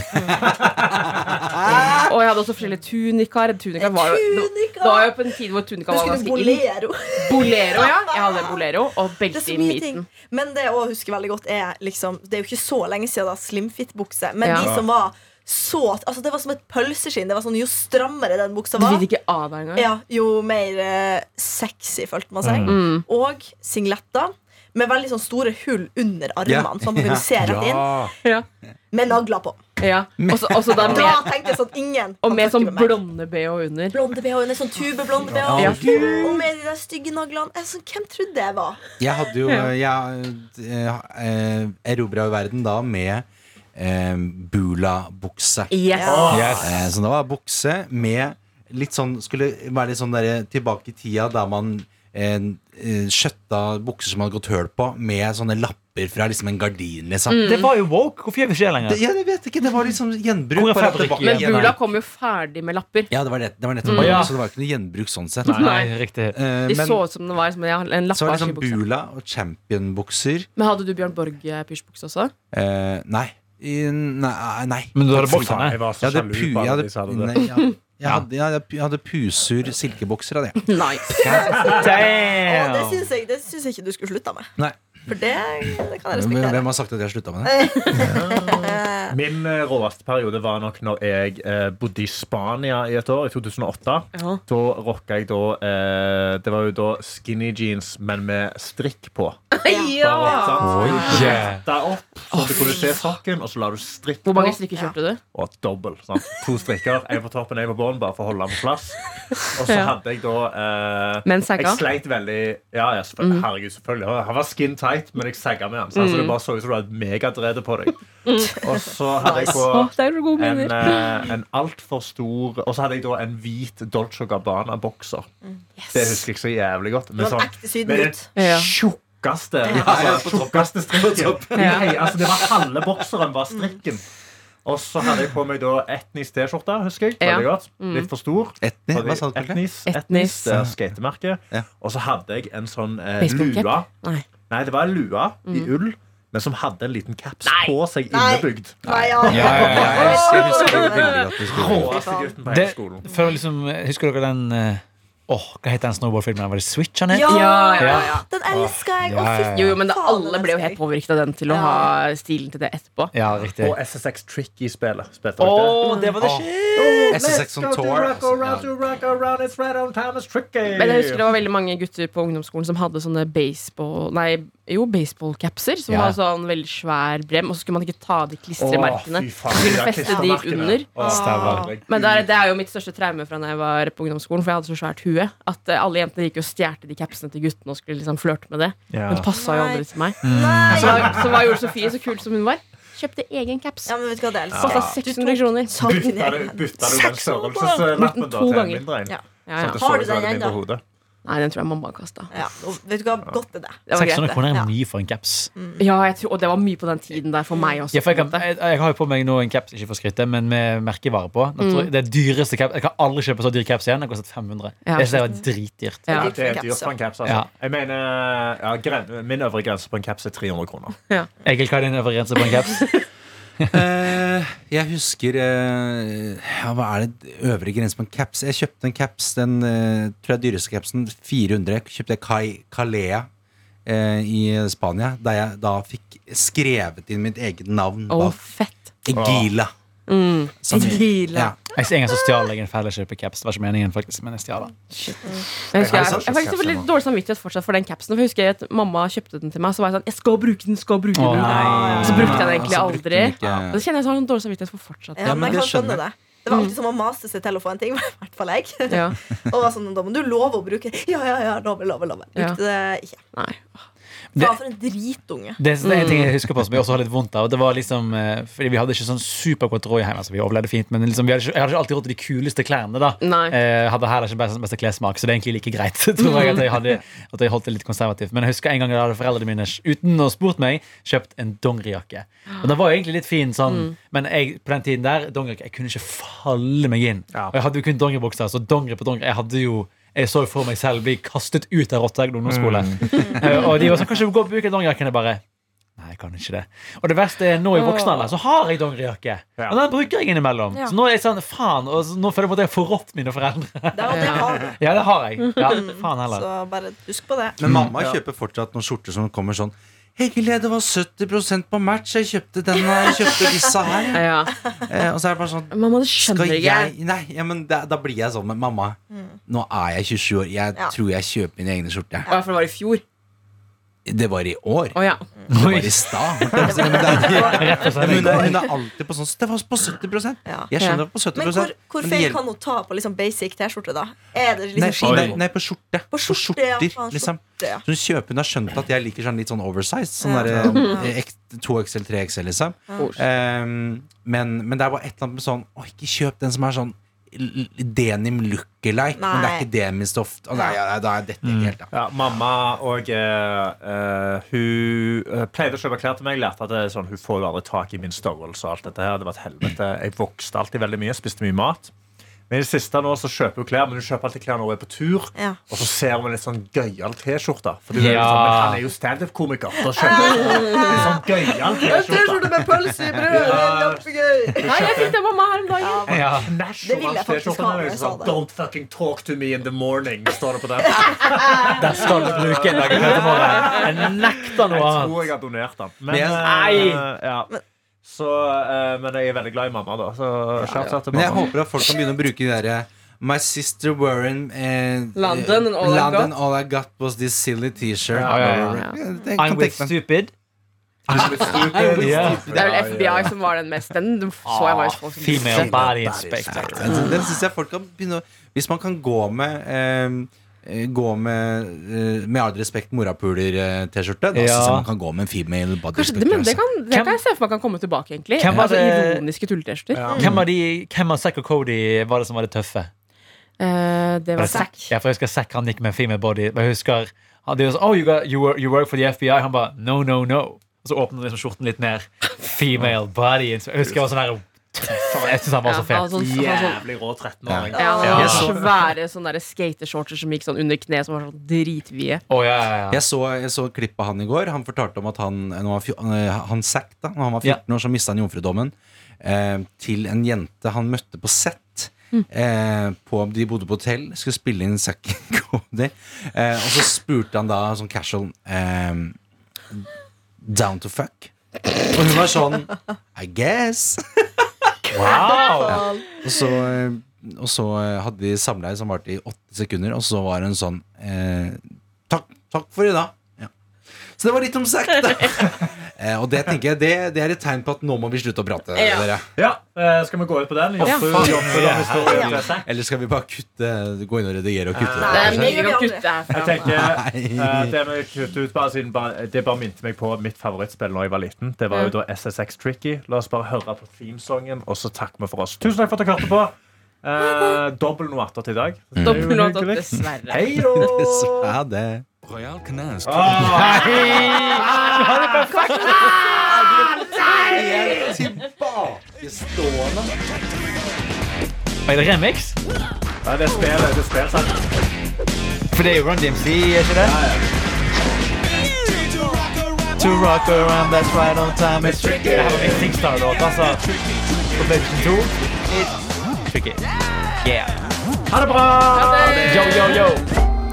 D: og jeg hadde også forskjellige tunikaer. Tunika var jo,
E: Tunika!
D: det var jo på en tid hvor tunika
E: Du
D: var
E: skulle
D: ganske inn.
E: bolero.
D: Bolero, ja. Jeg hadde bolero og
E: Det er
D: belte
E: så
D: i
E: mye ting.
D: midten.
E: Men det jeg også husker veldig godt, er liksom Det er jo ikke så lenge siden da slimfit-bukse, men
D: Ja.
E: de som var så Altså, det var som et pølseskinn. Det var sånn, Jo strammere den buksa
D: Du
E: var,
D: vil ikke av deg engang.
E: ja, jo mer eh, sexy følte man seg.
D: Mm.
E: Og singletter med veldig sånn store hull under
F: Ja.
E: armene, sånn at man kunne se rett inn,
D: Ja.
E: med nagler på.
D: Ja. Og så- og så da
E: Da
D: med,
E: tenkte jeg sånn Ingen
D: og med
E: kan
D: sånn
E: fucke meg.
D: blonde bh under.
E: Blonde BH, en sånn tubeblonde BH.
D: Ja.
E: Og med de der stygge naglene. Jeg er sånn, hvem trodde jeg var?
F: Jeg hadde jo Jeg eh, eh, erobra jo verden da med eh, Bula-bukse.
D: Yes.
F: Eh, så det var bukse med litt sånn Skulle være litt sånn der, tilbake i tida der man eh, eh, skjøtta bukser som hadde gått høl på, med sånne lapper fra liksom en gardin, liksom.
C: Det var jo woke Hvorfor gjør vi ikke det
F: Det,
C: lenger?
F: ja, jeg vet ikke, det var liksom gjenbruk.
C: Hvor er
F: bare
C: fabrikken?
F: tilbake
D: Men
F: igjen.
D: Bula kom jo ferdig med lapper.
F: Ja, det var, det, det var nettopp
C: Mm. Ja.
F: Så det var ikke noe gjenbruk sånn sett.
C: Nei, riktig
F: Eh,
D: De
F: men
D: så ut som det var som en en
F: så var det liksom
D: lappeartig bukse.
F: Bula og Champion-bukser.
D: Men hadde du Bjørn Borge-pysjbukse også?
F: Eh, nei. I, nei. Nei.
C: Men du hadde
F: Fy faen.
C: bokserne.
B: Jeg var så
F: Jeg hadde,
B: sjalu
F: pu,
B: på
F: jeg
B: alle
F: hadde,
B: de som hadde
F: nei,
B: det.
F: jeg, jeg, hadde, jeg, hadde, pu- jeg hadde pusur silkebokser av det.
D: Nice.
E: Og det
C: Damn
E: syns jeg, det syns jeg ikke du skulle slutta med.
F: Nei.
E: For det, det kan jeg
F: Hvem,
E: respektere.
F: hvem har sagt at jeg har slutta med det?
B: Min eh, råeste periode var nok når jeg eh, bodde i Spania i et år, i 2008.
D: Ja.
B: Da rocka jeg da eh, Det var jo da skinny jeans, men med strikk på.
D: Ja.
C: Yeah.
B: Da opp, så du kunne se sokken, og så la du strikk
D: Hvor mange
B: på.
D: strikker kjøpte du?
B: Og dobbel. Sant? To strikker. En på toppen, en på bånn, bare for å holde den på plass. Og så
D: Ja.
B: hadde jeg da eh,
D: Men sagga?
B: Jeg sleit veldig Ja, ja
E: Mm.
B: selvfølgelig, herregud, selvfølgelig. Han var skin tight, men jeg sagga med han. sant? Så altså, det bare så ut som du hadde megadrede på deg.
E: Mm.
B: Og så hadde jeg på
D: Å, det er jo gode
B: en,
D: minner.
B: eh, en altfor stor Og så hadde jeg da en hvit Dolce Gabbana-bokser. Det husker jeg så jævlig godt.
E: Du
B: Med
E: Mm, var en
B: sånn
E: ekte
B: med den
E: sydengutt.
D: Ja.
E: Mm.
B: tjukkeste altså, tjukkeste strikken. Nei, altså, det var halve bokseren var strikken. Og så hadde jeg på meg da etnisk T-skjorte, husker jeg.
D: Ja.
B: Veldig godt.
E: Mm.
B: Litt for stor.
F: Etni,
B: Hadde
F: hva sa du? Karl?
B: Etnis, etnis,
D: Etnis.
B: det er skatemerket.
F: Ja.
B: Og så hadde jeg en sånn eh,
D: Baseballcap?
B: lue.
D: Nei.
B: Nei, det var en lue i ull, men som hadde en liten caps
D: Nei.
B: på seg
E: Nei.
B: innebygd.
E: Nei, ja.
C: Ja, ja, ja, jeg husker- jeg husker-
F: Veldig godt du skulle-
B: Råeste gutten på hele
C: Det-
B: skolen.
C: Før liksom, husker dere den eh, Åh, hva heter den snowboardfilmen? Var det Switch han het?
E: Ja,
D: Ja, ja,
C: ja.
E: Den elsker jeg!
C: Ja,
E: Å,
C: ja,
E: fy
C: ja.
D: Jo, jo, men det,
E: faen,
D: alle ble jo helt
E: elsker jeg.
D: påvirket av den til å
E: Ja.
D: ha stilen til det etterpå.
C: Ja, riktig.
B: Og SSX Tricky-spelet. Spilte
C: Åh,
B: dere det?
C: det var det
F: Åh.
C: shit!
F: SSX on tour. altså.
D: Men jeg husker det var veldig mange gutter på ungdomsskolen som hadde sånne baseball Nei, jo, baseballcapser. Som
C: Ja.
D: var sånn veldig svær brem, og så skulle man ikke ta av de klistremerkene. (laughs) Skulle feste de under. Ah. Men det er, det er jo mitt største traume fra da jeg var på ungdomsskolen, for jeg hadde så svært hue at eh, alle jentene gikk jo og stjal de capsene til guttene og skulle liksom flørte med det. Hun passa jo
E: Nei.
D: aldri til meg.
E: Nei.
D: Så, så hva gjorde Sofie, så kul som hun var? Kjøpte egen caps. sånn.
E: Ja, men vet du hva det altså- elsker?
D: Kosta 600 kroner.
B: Bytta du bytta du den størrelseslappen da
D: To
B: til en
D: ganger.
B: mindre en?
E: Ja.
D: Ja, ja.
B: Sånn at det
E: Har
B: så ut som
E: du den
B: det var
E: igjen,
B: mindre
E: da?
B: hode.
D: Nei, den tror jeg mamma kasta.
E: Ja, og vet du hva? Godt er det.
D: Det var
C: 600
D: greit, det.
C: kroner
E: Ja.
C: er mye for en caps.
D: Ja, jeg tror, og det var mye på den tiden der for meg også.
C: Ja, for jeg, kan,
D: på en måte.
C: jeg, jeg har jo på meg nå en caps ikke for skrytet, men med merkevare på. Den tror jeg- Det er dyreste caps. Jeg kan aldri kjøpe så dyr caps igjen. Den kostet 500.
D: Ja.
C: Jeg synes det var dritdyrt.
D: Ja.
B: Ja, det er dyrt for en caps, altså.
C: Ja.
B: Jeg mener, eh, ja, gren, Min øvre grense på en caps er 300 kroner.
C: Egil, hva er din øvre grense på en caps?
F: Eh, jeg husker eh, ja, Hva er det øvre grense på en caps? Jeg kjøpte en caps, den eh, tror jeg dyreste capsen, 400. Kjøpte jeg Kai Calea eh, i Spania, der jeg da fikk skrevet inn mitt eget navn.
D: Å,
F: da.
D: fett.
F: Egila. Som-
D: Egila.
F: Ja.
C: Jeg ser en gang så stjal jeg en felleskjøpe caps. Det var ikke meningen, faktisk, men jeg stjal den.
D: Jeg, husker,
B: Jeg
D: jeg,
B: har
D: jeg,
B: sett
D: faktisk
B: capsen
D: får litt
B: nå.
D: dårlig samvittighet fortsatt for den capsen. For jeg husker at Mamma kjøpte den til meg, så var jeg sånn Jeg skal bruke den, skal bruke
C: Å,
D: den.
C: nei.
D: Og Så brukte jeg den egentlig
F: Så brukte
D: aldri.
F: den ikke.
D: Og så kjenner jeg så har jeg sånn dårlig samvittighet for fortsatt.
E: Ja,
F: Ja,
E: men
F: men
E: jeg
F: det
E: kan skjønne
F: skjønner
E: det. Det var alltid som å mase seg til å få en ting. (laughs) I hvert fall jeg.
D: Ja.
E: (laughs) Og var sånn, da må du love å bruke Ja, ja, ja, love, love, love.
D: Ja.
E: Brukte det ikke.
D: Nei.
C: Det-
E: Faen, for en dritunge.
C: Det, det er en ting jeg husker på som jeg også har litt vondt av. og Det var liksom, eh, fordi Vi hadde ikke sånn supergodt råd hjemme. Altså, vi overlevde fint, men liksom, vi hadde ikke, jeg hadde ikke alltid råd til de kuleste klærne. da
D: Nei.
C: Eh, Hadde heller ikke best, beste klessmak, så det er egentlig like greit. (laughs) tror jeg At jeg, hadde, at jeg holdt det litt konservativt Men jeg husker en gang da hadde foreldrene mine uten å ha spurt meg kjøpt en dongerijakke. Og Den var jo egentlig litt fin, sånn men jeg, på den tiden der dongerijakke, jeg kunne ikke falle meg inn.
B: Ja.
C: Og jeg hadde jo kun dongeribukser, så dongeri på dongeri. Jeg hadde jo jeg så jo for meg selv bli kastet ut av Rotteegg ungdomsskole. (laughs) Eh, og de var sånn, kanskje gå og bruke dongerijakken. Jeg bare Nei, jeg kan ikke det. Og det verste er nå i voksen alder så har jeg dongerijakke.
B: Ja.
C: Og den bruker jeg innimellom.
D: Ja.
C: Så nå er jeg sånn, faen, og så, nå føler jeg på at jeg har forrådt mine foreldre. (laughs)
E: Der måtte jeg ha det.
C: Ja, det har jeg. Ja, faen heller.
E: Så bare husk på det.
F: Men mamma kjøper fortsatt noen skjorter som kommer sånn Egil, det var 70 på match. Jeg kjøpte den og jeg kjøpte disse her.
D: Ja.
F: Eh, og så er det bare sånn
D: Mamma, det
F: Skal
D: skjønner ikke.
F: jeg Nei, ja, men da, da blir jeg sånn med mamma. Nå er jeg 27 år. Jeg
E: Mm. Ja.
F: tror jeg kjøper mine egne skjorter.
D: Å, ja, for det var i fjor.
F: Det var i år.
D: Å ja.
F: Det var i stad. Men det
E: (laughs)
F: er-
C: Rett og
F: men
C: slett.
F: Hun er, hun er alltid på sånn Det var på 70
E: Ja.
F: Jeg skjønner det var på 70
E: Men hvor, hvor
F: men det
E: feil
F: hjelper-
E: kan hun ta på liksom basic T-skjorte, da? Er det
F: Nei,
E: liksom
F: nei, nei, på skjorte.
E: På skjorte, ja,
F: skjorter,
E: faen,
F: liksom.
E: skjorte, ja.
F: Så hun kjøper, hun har skjønt at jeg liker sånn litt sånn oversize. Sånn
E: Ja.
F: der, eh, ek- 2XL, 3XL, liksom.
D: Kos.
F: Ehm, men, men det er bare et eller annet med sånn Å, ikke kjøp den som er sånn l- l- denim lookalike, men det er
E: Nei. Mm.
F: ikke denim-stoff. Å, Nei, ja, nei, da er dette ikke helt, da.
B: Ja, mamma og eh, eh, hun eh, pleide å kjøpe klær til meg. Lærte at det er sånn, hun får jo aldri tak i min størrelse. og alt dette her. Det var et helvete. Jeg vokste alltid veldig mye, spiste mye mat. Men i det siste nå så kjøper hun klær, men hun kjøper alltid klær når hun er på tur.
E: Ja.
B: Og så ser hun en litt sånn gøyal T-skjorte. For du er jo
C: Ja.
B: sånn, men han er jo standup-komiker. Da kjøper hun en sånn gøyal T-skjorte.
E: med pølse i brød! Kjempegøy!
D: Nei, jeg fikk det av mamma her om dagen.
C: (laughs) Ja.
B: Knæsj
E: Det
B: over
E: ville jeg
B: hans
E: faktisk
B: T-skjorte,
E: ha
B: men
E: når jeg
B: liksom sånn,
E: sa det.
B: Don't fucking talk to me in the morning, står det på den.
C: Der skal du bruke en dag i løpet av morgenen. Jeg nekter noe
B: Jeg
C: annet.
B: tror jeg har donert den. Men,
F: Men-
B: eh,
C: Nei!
B: ja. Så, eh, men jeg er veldig glad i mamma, da. Så shout out til
F: Men jeg
B: mamma.
F: håper at folk kan begynne å bruke de derre My sister Warren eh,
D: London and all I
F: London
D: got."
F: all I got was this silly t-shirt.
C: Ja, ja, ja,
D: ja.
F: Det kan
C: I'm with
F: tenke meg.
C: stupid.
B: Ja.
D: Det er vel FBI som var den mest. Den den så jeg var jo folk som
C: Female
D: visste.
C: body inspector.
F: Den, den synes jeg folk kan begynne å Hvis man kan gå med eh, eh, Gå med eh, Med all respekt morapuler-T-skjorte, da
C: Ja.
F: synes jeg man kan gå med en female body altså.
D: Kanskje, det, men det,
F: inspector,
D: kan, det
C: Hvem-
D: kan jeg se for meg kan komme tilbake, egentlig.
C: Hvem var
D: Altså
C: det-
D: Ironiske tulletester.
C: Hvem av, de, hvem av Zack og Cody var det som var det tøffe?
D: Eh, det var
C: Zack.
D: Zack.
C: Ja, for jeg husker Zack han gikk med en female body. Og jeg husker han, de var sånn, oh, you, got, you, work, you work for the FBI. Han bare no, no, no. Og så åpnet han liksom skjorten litt mer. Female body. Jeg husker jeg var sånn her Jeg syns han var så
D: Ja, han
C: fet.
D: var sånn- han var sånn-
B: Jævlig rå 13-åring.
D: Ja,
F: Ja.
D: han hadde Svære sånne der skatershortser som gikk sånn under kneet, som var sånn dritvide.
C: Å, ja, ja, ja.
F: Jeg så, jeg så et klipp av han i går. Han fortalte om at han når han var, fjo- eh, han sacked da når han var 14 år, så mista han jomfrudommen eh, til en jente han møtte på sett. Eh, på, de bodde på hotell, skulle spille inn Sucking (laughs) Cody. Eh, og så spurte han da sånn casual eh, Down to fuck? Og hun var sånn I guess.
C: Wow!
F: Og så, eh, og så eh, hadde de samleie som varte i åtte sekunder, og så var hun sånn eh, takk, takk for i dag. Ja. Så det var litt om sagt, da. eh, og det tenker jeg, det, det er et tegn på at nå må vi slutte å prate. Dere.
B: Ja, eh, skal vi gå ut på den? Joffe,
F: faen.
B: Joffe, da, hvis du-
F: Eller skal vi bare kutte, gå inn og redigere og kutte?
D: Det er
E: Nei,
D: mye
E: det
D: vi
E: gjør
D: kan
E: vi
D: kutte
B: Jeg
D: herfra.
B: tenker eh,
F: Nei.
B: Det med kutt ut bare siden bare, Det bare minte meg på mitt favorittspill da jeg var liten. Det var jo da SSX Tricky. La oss bare høre på themesongen, og så takker vi for oss. Tusen takk for at dere hørte på. Eh, Dobbel noe attåt i dag.
F: Mm.
B: Det er jo
D: Dobbel låt,
B: hyggelig.
D: dessverre.
B: Hei da!
F: Så er det. Ah.
H: Royal Knast.
C: Er det remix?
B: Nei, det er spillet. Det er spillet sant?
C: For det er jo Run DMC, er ikke det? To rock around, that's right on time It's tricky Det her var min Singstar-låt, altså På PlayStation 2 It's tricky Yeah Ha det bra! Yo, yo, yo